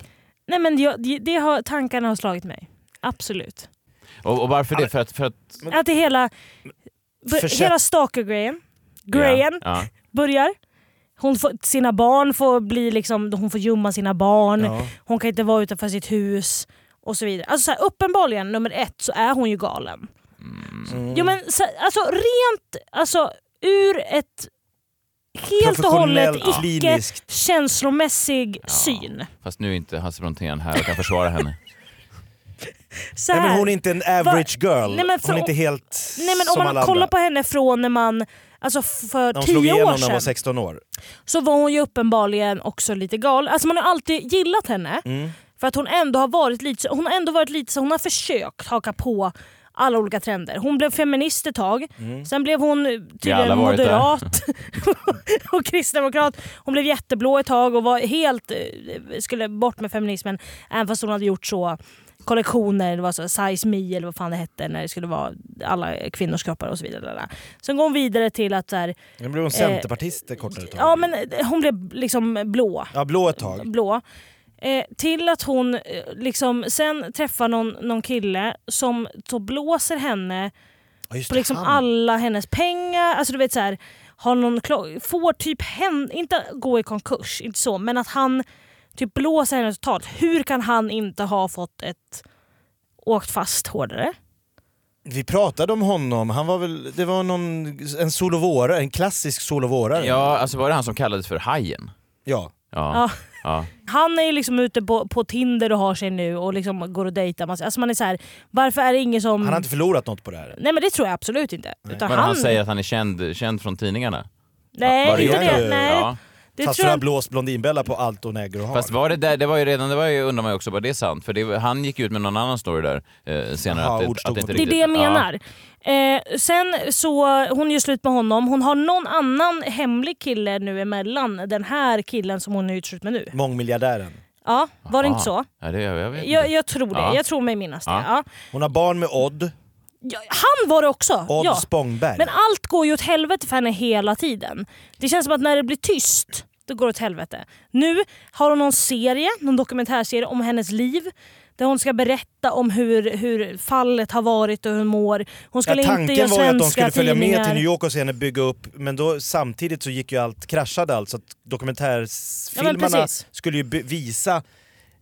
Speaker 4: Nej men jag, det, det har, tankarna har slagit mig. Absolut.
Speaker 3: och, och varför det? För att... För att
Speaker 4: Att det hela, b-
Speaker 2: Försätt-
Speaker 4: hela stalker-grejen grejen
Speaker 3: Ja,
Speaker 4: börjar. Hon får, sina barn får bli liksom, hon får gömma sina barn,
Speaker 2: Ja.
Speaker 4: hon kan inte vara utanför sitt hus och så vidare. Alltså så här, uppenbarligen, nummer ett, så är hon ju galen.
Speaker 2: Mm.
Speaker 4: Jo, men, så, alltså rent alltså, ur ett helt och hållet
Speaker 2: Professionellt,
Speaker 4: icke
Speaker 2: kliniskt.
Speaker 4: känslomässig syn.
Speaker 3: ja. Fast nu är inte Hasse Brontén här och kan försvara henne.
Speaker 4: Så
Speaker 2: Nej, men
Speaker 4: här.
Speaker 2: hon är inte en average girl.
Speaker 4: Nej, men för
Speaker 2: hon är inte
Speaker 4: om-
Speaker 2: helt
Speaker 4: Nej, men
Speaker 2: som
Speaker 4: om
Speaker 2: alla
Speaker 4: man kollar
Speaker 2: andra.
Speaker 4: på henne från när man, alltså f- för
Speaker 2: när hon slog
Speaker 4: tio
Speaker 2: igenom
Speaker 4: år
Speaker 2: när hon var
Speaker 4: sedan.
Speaker 2: 16 år.
Speaker 4: så var hon ju uppenbarligen också lite galen. Alltså man har alltid gillat henne
Speaker 3: Mm.
Speaker 4: för att hon ändå har varit lite så- hon har ändå varit lite så hon har försökt haka på alla olika trender. Hon blev feminist ett tag, sen blev hon
Speaker 3: Mm. alla
Speaker 4: tydligen
Speaker 3: varit där.
Speaker 4: moderat och kristdemokrat. Hon blev jätteblå ett tag och var helt, eh, skulle bort med feminismen även fast hon hade gjort så kollektioner, det var så size me eller vad fan det hette när det skulle vara alla kvinnors kroppar och så vidare. Sen går hon vidare till att så här,
Speaker 2: Nu blev hon centerpartist ett kortare tag.
Speaker 4: Eh, Ja men eh, hon blev liksom blå.
Speaker 2: ja, blå ett tag.
Speaker 4: blå. Eh, till att hon eh, liksom sen träffar någon, någon kille som så blåser henne
Speaker 2: Ja, just
Speaker 4: på liksom
Speaker 2: han.
Speaker 4: alla hennes pengar. Alltså du vet så här, har någon klo- får typ hen, inte gå i konkurs, inte så, men att han typ blåser henne totalt. Hur kan han inte ha fått ett åkt fast hårdare?
Speaker 2: Vi pratade om honom, han var väl, det var någon, en solovårare, en klassisk solovårare.
Speaker 3: Ja, alltså var det han som kallades för Hajen?
Speaker 2: ja.
Speaker 3: Ja.
Speaker 4: Ja.
Speaker 3: ja.
Speaker 4: Han är ju liksom ute på, på Tinder och har sig nu och liksom går och dejtar. massa- Alltså man är så här, varför är det ingen som...
Speaker 2: Han har inte förlorat något på det här.
Speaker 4: Nej men det tror jag absolut inte. Utan
Speaker 3: Men han säger att han är känd, känd från tidningarna.
Speaker 4: Nej,
Speaker 3: Var det
Speaker 4: inte
Speaker 2: jag
Speaker 4: det.
Speaker 2: nu?
Speaker 4: Nej.
Speaker 3: Ja.
Speaker 4: Det
Speaker 2: Fast
Speaker 4: tror
Speaker 2: hon har
Speaker 4: jag...
Speaker 2: blåst Blondinbella på allt hon äger och har.
Speaker 3: Fast var det där, det var ju redan, det var ju, undrar man ju också, var det sant? För det, han gick ju ut med någon annan story där eh, senare.
Speaker 2: Jaha,
Speaker 3: att det,
Speaker 2: ordstod
Speaker 3: att det,
Speaker 2: mot
Speaker 3: inte
Speaker 4: Det är
Speaker 3: riktigt-
Speaker 4: det
Speaker 3: Ja.
Speaker 4: jag menar. Eh, sen så, hon gör slut med honom. Hon har någon annan hemlig kille nu emellan den här killen som hon är utslut med nu.
Speaker 2: Mångmiljardären.
Speaker 4: Ja, var det inte
Speaker 3: Ah.
Speaker 4: så?
Speaker 3: Ja, det, jag, jag vet inte.
Speaker 4: Jag, jag tror det.
Speaker 3: Ja.
Speaker 4: Jag tror mig minnas det.
Speaker 3: Ja.
Speaker 4: Ja.
Speaker 2: Hon har barn med Odd.
Speaker 4: Ja, han var det också!
Speaker 2: Odd
Speaker 4: ja.
Speaker 2: Spångberg.
Speaker 4: Men allt går ju åt helvete för henne hela tiden. Det känns som att när det blir tyst, då går det åt helvete. Nu har hon någon serie, någon dokumentärserie om hennes liv. Där hon ska berätta om hur, hur fallet har varit och hur hon mår. Hon skulle
Speaker 2: ja,
Speaker 4: inte göra
Speaker 2: tanken var ju
Speaker 4: svenska
Speaker 2: att de skulle följa
Speaker 4: tidningar.
Speaker 2: med till New York och se henne bygga upp, men då, samtidigt så gick ju allt, kraschade allt så att dokumentärfilmarna
Speaker 4: Ja, men precis.
Speaker 2: skulle ju be- visa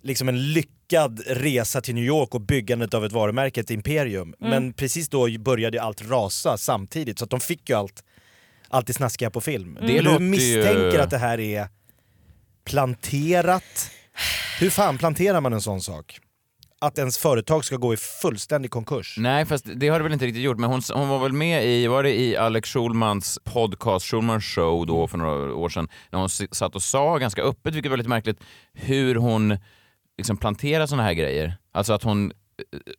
Speaker 2: liksom en lyckad resa till New York och byggandet av ett varumärke, ett imperium.
Speaker 4: Mm.
Speaker 2: Men precis då började ju allt rasa samtidigt så att de fick ju allt, allt det snaskiga på film.
Speaker 3: Mm. Det
Speaker 2: Det
Speaker 3: låter
Speaker 2: du
Speaker 3: ju-
Speaker 2: misstänker att det här är planterat. Hur fan planterar man en sån sak? Att ens företag ska gå i fullständig konkurs.
Speaker 3: Nej, fast det har det väl inte riktigt gjort. Men hon, hon var väl med i, var det i Alex Schulmans podcast, Schulmans show då för några år sedan, när hon s- satt och sa ganska öppet, vilket var lite märkligt, hur hon liksom planterar såna här grejer. Alltså att hon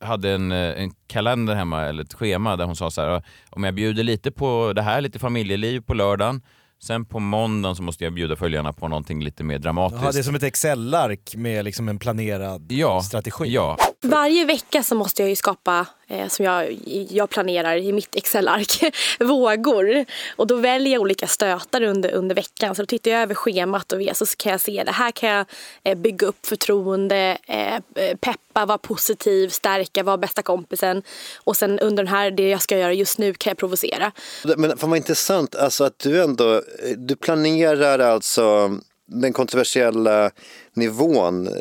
Speaker 3: eh, hade en, eh, en kalender hemma, eller ett schema, där hon sa så här, "Ah, om jag bjuder lite på det här, lite familjeliv på lördagen, sen på måndagen så måste jag bjuda följarna på någonting lite mer dramatiskt.
Speaker 2: Ja, det är som ett Excel-ark med liksom en planerad
Speaker 3: ja,
Speaker 2: strategi.
Speaker 3: Ja,
Speaker 6: Varje vecka så måste jag ju skapa, eh, som jag, jag planerar i mitt Excel-ark, vågor. Och då väljer jag olika stötar under, under veckan. Så då tittar jag över schemat och vet, så kan jag se det här kan jag eh, bygga upp förtroende, eh, peppa, vara positiv, stärka, vara bästa kompisen. Och sen under den här, det jag ska göra just nu kan jag provocera.
Speaker 8: Men fan vad intressant, alltså att du ändå, eh, du planerar alltså den kontroversiella nivån. eh,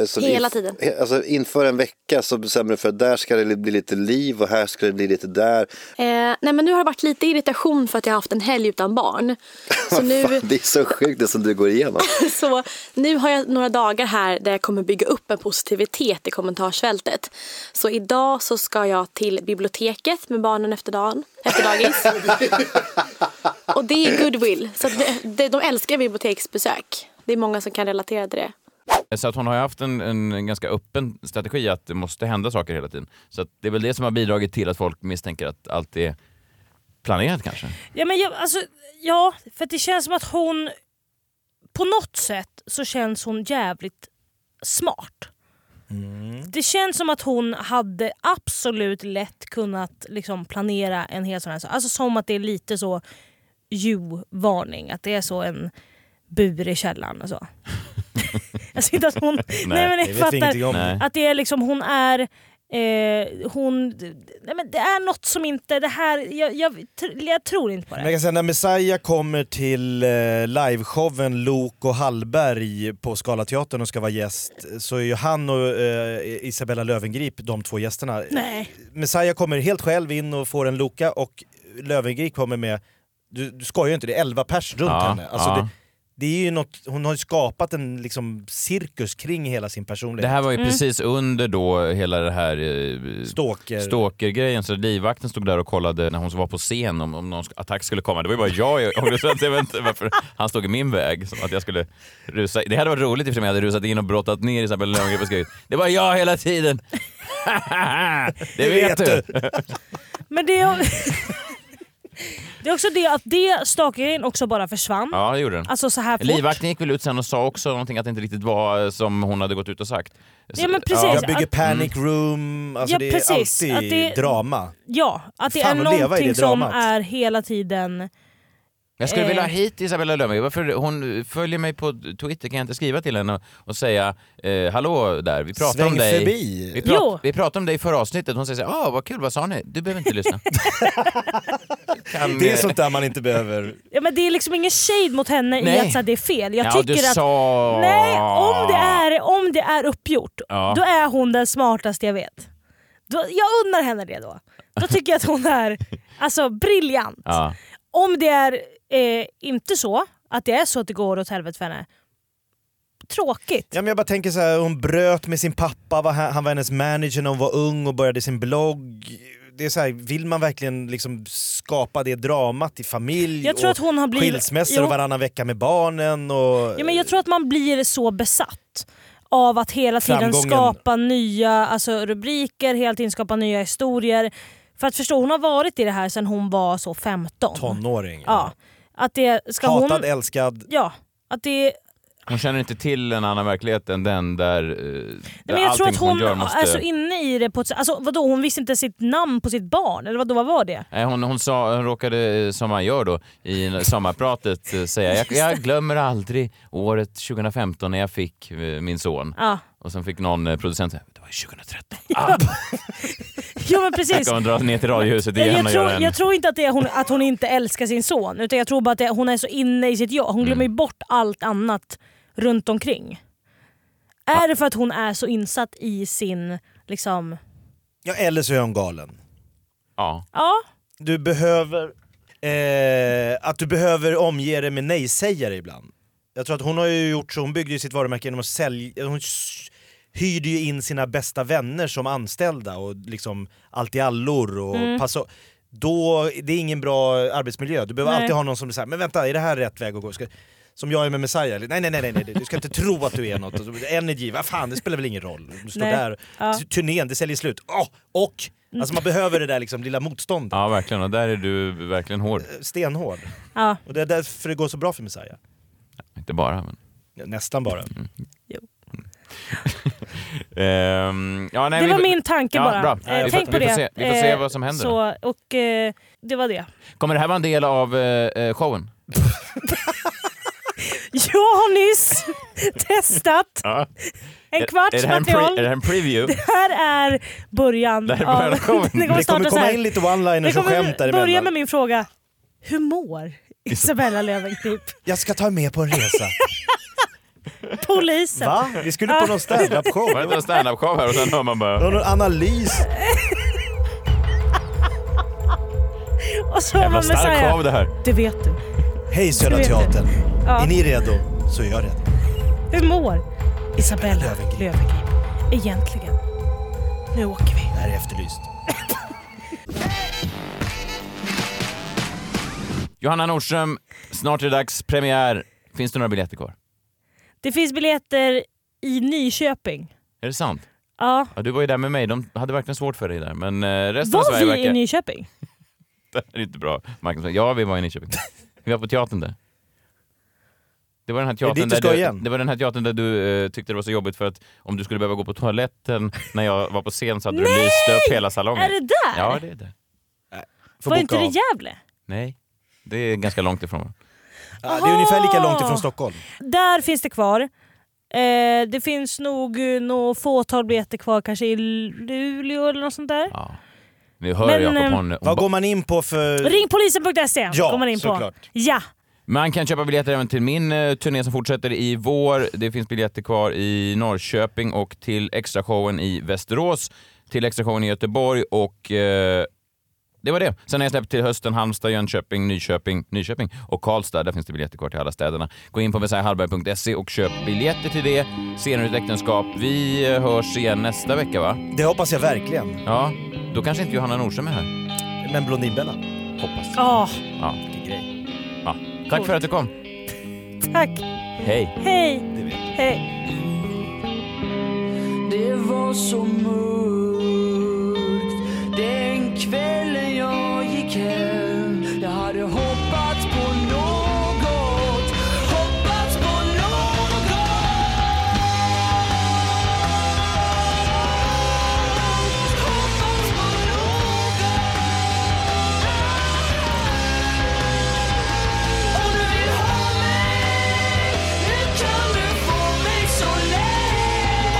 Speaker 8: Alltså
Speaker 6: Hela
Speaker 8: inf-
Speaker 6: tiden.
Speaker 8: he- Alltså inför en vecka så bestämmer du för att där ska det bli lite liv och här ska det bli lite där.
Speaker 6: Eh, nej men nu har det varit lite irritation för att jag har haft en helg utan barn. Så nu,
Speaker 8: Fan, det är så sjukt det som du går igenom.
Speaker 6: Så nu har jag några dagar här där jag kommer bygga upp en positivitet i kommentarsfältet. Så idag så ska jag till biblioteket med barnen efter, dagen, efter dagis. Och det är goodwill. Så att det, det, de älskar biblioteksbesök. Det är många som kan relatera till det.
Speaker 3: Så att hon har ju haft en, en ganska öppen strategi att det måste hända saker hela tiden. Så att det är väl det som har bidragit till att folk misstänker att allt är planerat kanske.
Speaker 4: Ja, men jag, alltså, ja, för att det känns som att hon... På något sätt så känns hon jävligt smart.
Speaker 2: Mm.
Speaker 4: Det känns som att hon hade absolut lätt kunnat liksom planera en hel sån här sak. Alltså som att det är lite så you-varning. Att det är så en bur i källaren och så. alltså inte att hon... nej, men
Speaker 2: det
Speaker 4: jag
Speaker 2: vet vi
Speaker 4: fattar.
Speaker 2: ingenting om. Nej.
Speaker 4: Att det är liksom hon är... Eh, hon, nej men det är något som inte... Det här, jag, jag, tr- jag tror inte på det.
Speaker 2: Men jag kan säga, när Messiah kommer till eh, liveshowen Lok och Hallberg på Scalateatern och ska vara gäst så är ju han och eh, Isabella Lövengrip de två gästerna.
Speaker 4: Nej.
Speaker 2: Messiah kommer helt själv in och får en Loka och Lövengrip kommer med, du, du skojar ju inte, det är 11 pers runt
Speaker 3: Ja,
Speaker 2: henne. Alltså,
Speaker 3: ja.
Speaker 2: det, det är ju något, hon har ju skapat en liksom, cirkus kring hela sin personlighet.
Speaker 3: Det här var ju precis under då hela det här eh,
Speaker 2: Stalker.
Speaker 3: stalkergrejen så livvakten stod där och kollade när hon var på scen om, om någon sk- attack skulle komma. Det var ju bara jag i ångesten, så jag vet inte varför han stod i min väg. Som att jag skulle rusa. Det hade varit roligt i och för sig om jag hade rusat in och brottat ner Isabella Löwengrip och skrikit “Det var jag hela tiden!” Det vet du!
Speaker 4: Men det... Är, det är också det att det stalkingen också bara försvann.
Speaker 3: Ja, det gjorde den.
Speaker 4: Alltså så här fort.
Speaker 3: Livvakten gick väl ut sen och sa också någonting att det inte riktigt var eh, som hon hade gått ut och sagt. Så-
Speaker 4: Ja, men precis.
Speaker 2: Jag bygger
Speaker 4: Alltså, Att- Mm.
Speaker 2: panic room, alltså
Speaker 4: Ja,
Speaker 2: det är
Speaker 4: precis.
Speaker 2: alltid
Speaker 4: Att det-
Speaker 2: drama.
Speaker 4: Ja, att det
Speaker 2: Fan,
Speaker 4: är
Speaker 2: att leva i det
Speaker 4: någonting som
Speaker 2: dramat.
Speaker 4: är hela tiden...
Speaker 3: Jag skulle
Speaker 4: Eh.
Speaker 3: vilja ha hit Isabella Löwengrip. Varför hon följer mig på Twitter kan jag inte skriva till henne och, och säga eh, hallå där, vi pratar
Speaker 2: Sväng
Speaker 3: om dig.
Speaker 2: förbi.
Speaker 3: Vi,
Speaker 2: Jo.
Speaker 3: prat, vi pratade om dig i förra avsnittet. Hon säger så här, ah vad kul, vad sa ni? Du behöver inte lyssna. Kan,
Speaker 2: Det är
Speaker 3: eh,
Speaker 2: sånt där man inte behöver
Speaker 4: Ja, men det är liksom ingen shade mot henne i
Speaker 3: Nej.
Speaker 4: att så här, det är fel. Jag
Speaker 3: Ja,
Speaker 4: tycker
Speaker 3: du
Speaker 4: att...
Speaker 3: sa-
Speaker 4: Nej, om det är, om det är uppgjort,
Speaker 3: Ah. Ja.
Speaker 4: då är hon den smartaste jag vet. Då, jag unnar henne det då. Då tycker jag att hon är alltså, briljant.
Speaker 3: Ja.
Speaker 4: Om det är eh, inte så, att det är så att det går åt helvete för henne, tråkigt.
Speaker 2: Ja, men jag bara tänker så här, hon bröt med sin pappa, var, han var hennes manager när hon var ung och började sin blogg. Det är så här, vill man verkligen liksom skapa det dramat i familj
Speaker 4: Jag tror
Speaker 2: och
Speaker 4: att hon har blivit-
Speaker 2: skilsmässor
Speaker 4: Jo.
Speaker 2: och varannan vecka med barnen? Och...
Speaker 4: Ja, men jag tror att man blir så besatt av att hela tiden
Speaker 2: Framgången.
Speaker 4: skapa nya alltså, rubriker, hela tiden skapa nya historier. För att förstå, hon har varit i det här sedan hon var så 15.
Speaker 2: Tonåring.
Speaker 4: Ja. Att det ska
Speaker 2: Hatad,
Speaker 4: hon...
Speaker 2: älskad.
Speaker 4: Ja. Att det...
Speaker 3: Hon känner inte till en annan verklighet än den där, eh, där
Speaker 4: Nej, men jag tror
Speaker 3: allting
Speaker 4: att hon, alltså,
Speaker 3: gör måste...
Speaker 4: är så inne i det på ett Alltså vadå, hon visste inte sitt namn på sitt barn? Eller vadå, vad var det?
Speaker 3: Nej, hon, hon, sa, hon råkade, eh, som man gör då, i sommarpratet eh, säga jag, jag glömmer aldrig året 2015 när jag fick eh, min son.
Speaker 4: Ja.
Speaker 3: Och sen fick någon eh, producent säga det var ju 2013.
Speaker 4: Jo men precis.
Speaker 3: Ska hon dra ner till radiohuset igen
Speaker 4: jag,
Speaker 3: och
Speaker 4: tror,
Speaker 3: göra en...
Speaker 4: jag tror inte att, det är hon, att hon inte älskar sin son, utan jag tror bara att det, hon är så inne i sitt jag. Hon glömmer ju
Speaker 3: Mm.
Speaker 4: bort allt annat runt omkring. Är det för att hon är så insatt i sin... Liksom,
Speaker 2: Ja, eller så är hon galen.
Speaker 3: Ja.
Speaker 4: ja,
Speaker 2: Du behöver... Eh, att du behöver omge dig med nej-sägare ibland. Jag tror att hon har ju gjort så, hon byggde ju sitt varumärke genom att sälja... Hon s- hyrde ju in sina bästa vänner som anställda och liksom allt i allor och
Speaker 9: Mm.
Speaker 2: passa... Då, det är ingen bra arbetsmiljö. Du behöver
Speaker 9: Nej.
Speaker 2: alltid ha någon som säger men vänta, är det här rätt väg att gå? Ska, som jag är med Messiah, eller, nej, nej nej nej nej, du ska inte tro att du är något. Och så- Energy, vad fan det spelar väl ingen roll. Du står
Speaker 4: Nej.
Speaker 2: där,
Speaker 4: Ja.
Speaker 2: turnén, det säljer slut. Åh, och! Alltså man behöver det där liksom lilla motståndet.
Speaker 3: Ja, verkligen. Och där är du verkligen hård.
Speaker 2: stenhård.
Speaker 4: Ja.
Speaker 2: Och det är därför det går så bra för Messiah.
Speaker 3: Inte bara, men...
Speaker 2: Ja, Nästan bara.
Speaker 4: Mm.
Speaker 3: Ehm, ja, nej,
Speaker 4: det
Speaker 3: vi-
Speaker 4: var min tanke
Speaker 3: ja,
Speaker 4: bara.
Speaker 3: Bra.
Speaker 4: Eh,
Speaker 3: vi,
Speaker 4: Tänk
Speaker 3: får,
Speaker 4: på
Speaker 3: vi
Speaker 4: det.
Speaker 3: Får se, vi får se
Speaker 4: Eh,
Speaker 3: vad som händer. då.
Speaker 4: Så, och, eh, det var det.
Speaker 3: Kommer det här vara en del av eh, eh, showen?
Speaker 4: Jag har nyss testat
Speaker 3: Ja.
Speaker 4: en kvarts
Speaker 3: är, är det här en pre- Är
Speaker 4: material.
Speaker 3: det här en preview?
Speaker 4: Det här är början.
Speaker 3: Det här är början av showen.
Speaker 4: det kommer,
Speaker 3: Det
Speaker 4: starta
Speaker 3: kommer
Speaker 4: så här.
Speaker 3: komma in lite one-liners
Speaker 4: Det
Speaker 2: och
Speaker 4: kommer
Speaker 2: skämt däremellan.
Speaker 4: Börja med min fråga. Hur mår Isabella Löwengrip?
Speaker 2: Jag ska ta med på en resa.
Speaker 4: Polisen.
Speaker 2: Va? Vi skulle på någon standup-show.
Speaker 3: Var det inte en standup-show här och sen hör man
Speaker 2: Det var
Speaker 3: bara...
Speaker 2: någon analys.
Speaker 4: Och så har
Speaker 2: Jävla
Speaker 4: man
Speaker 2: stark
Speaker 4: Messiah.
Speaker 2: show det här.
Speaker 4: Det vet du.
Speaker 2: Hej Södra
Speaker 4: Du vet det.
Speaker 2: Teatern.
Speaker 4: Ja.
Speaker 2: Är ni redo så är jag redo.
Speaker 4: Hur mår Isabella Löwengrip egentligen? Nu åker vi.
Speaker 2: Det här är Efterlyst.
Speaker 3: Johanna Nordström, snart är det dags. Premiär. Finns det några biljetter kvar?
Speaker 4: Det finns biljetter i Nyköping.
Speaker 3: Är det sant?
Speaker 4: Ja.
Speaker 3: Ja, du var ju där med mig. De hade verkligen svårt för dig där. Men eh, resten av
Speaker 4: Var
Speaker 3: Sverige
Speaker 4: vi i
Speaker 3: verkar...
Speaker 4: Nyköping?
Speaker 3: Det här är inte bra marknadsföring. Ja, vi var i Nyköping. Vi var på teatern där. Det var den här
Speaker 2: det dit
Speaker 3: teatern,
Speaker 2: du ska
Speaker 3: där,
Speaker 2: igen?
Speaker 3: du, det var den här teatern där du eh, tyckte det var så jobbigt för att om du skulle behöva gå på toaletten när jag var på scen så hade du
Speaker 4: Nej!
Speaker 3: lyst upp hela salongen.
Speaker 4: Är det där?
Speaker 3: Ja, det är det. Får
Speaker 4: Var
Speaker 3: boka
Speaker 4: inte det
Speaker 3: av.
Speaker 4: Gävle?
Speaker 3: Nej, det är ganska långt ifrån. varandra.
Speaker 2: Ja, det är ungefär lika långt ifrån Stockholm.
Speaker 4: Där finns det kvar. Eh, det finns nog eh, något fåtal biljetter kvar, kanske i Luleå eller något sånt där.
Speaker 3: Nu hör
Speaker 4: Men,
Speaker 3: jag på
Speaker 4: ehm,
Speaker 3: hon,
Speaker 2: Vad går man in på för...
Speaker 4: Ringpolisen.se
Speaker 3: Ja,
Speaker 4: går man in på.
Speaker 3: såklart.
Speaker 4: Ja,
Speaker 3: Man kan köpa biljetter även till min eh, turné som fortsätter i vår. Det finns biljetter kvar i Norrköping och till extrashowen i Västerås, till extrashowen i Göteborg och eh, det var det. Sen har jag släppt till hösten Halmstad, Jönköping, Nyköping, Nyköping och Karlstad. Där finns det biljetter kvar till alla städerna. Gå in på messiahallberg.se E och köp biljetter till det. Senare ett äktenskap. Vi eh, hörs igen nästa vecka va?
Speaker 2: Det hoppas jag verkligen.
Speaker 3: Ja, då kanske inte Johanna Nordström är här.
Speaker 2: Men Blondinbella.
Speaker 3: Hoppas.
Speaker 4: Ja.
Speaker 3: Ja.
Speaker 2: grej.
Speaker 3: ja. Tack för att du kom.
Speaker 4: tack.
Speaker 3: Hej.
Speaker 4: Hej. Hej.
Speaker 10: Det var så mörkt den kvällen jag gick hem. Jag hade hoppats på något, hoppats på något. Nu kan du få mig så lätt.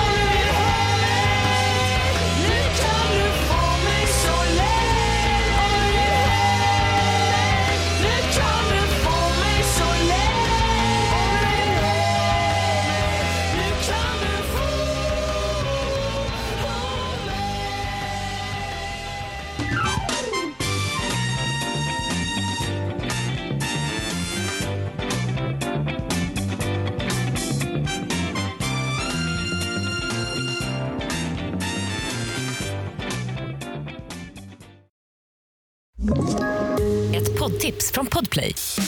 Speaker 10: Om du vill ha mig. Nu kan du få mig så lätt. Om du vill ha mig. Nu kan du få mig så lätt. Om du vill ha mig. Nu kan du få
Speaker 5: Ett poddtips från Podplay.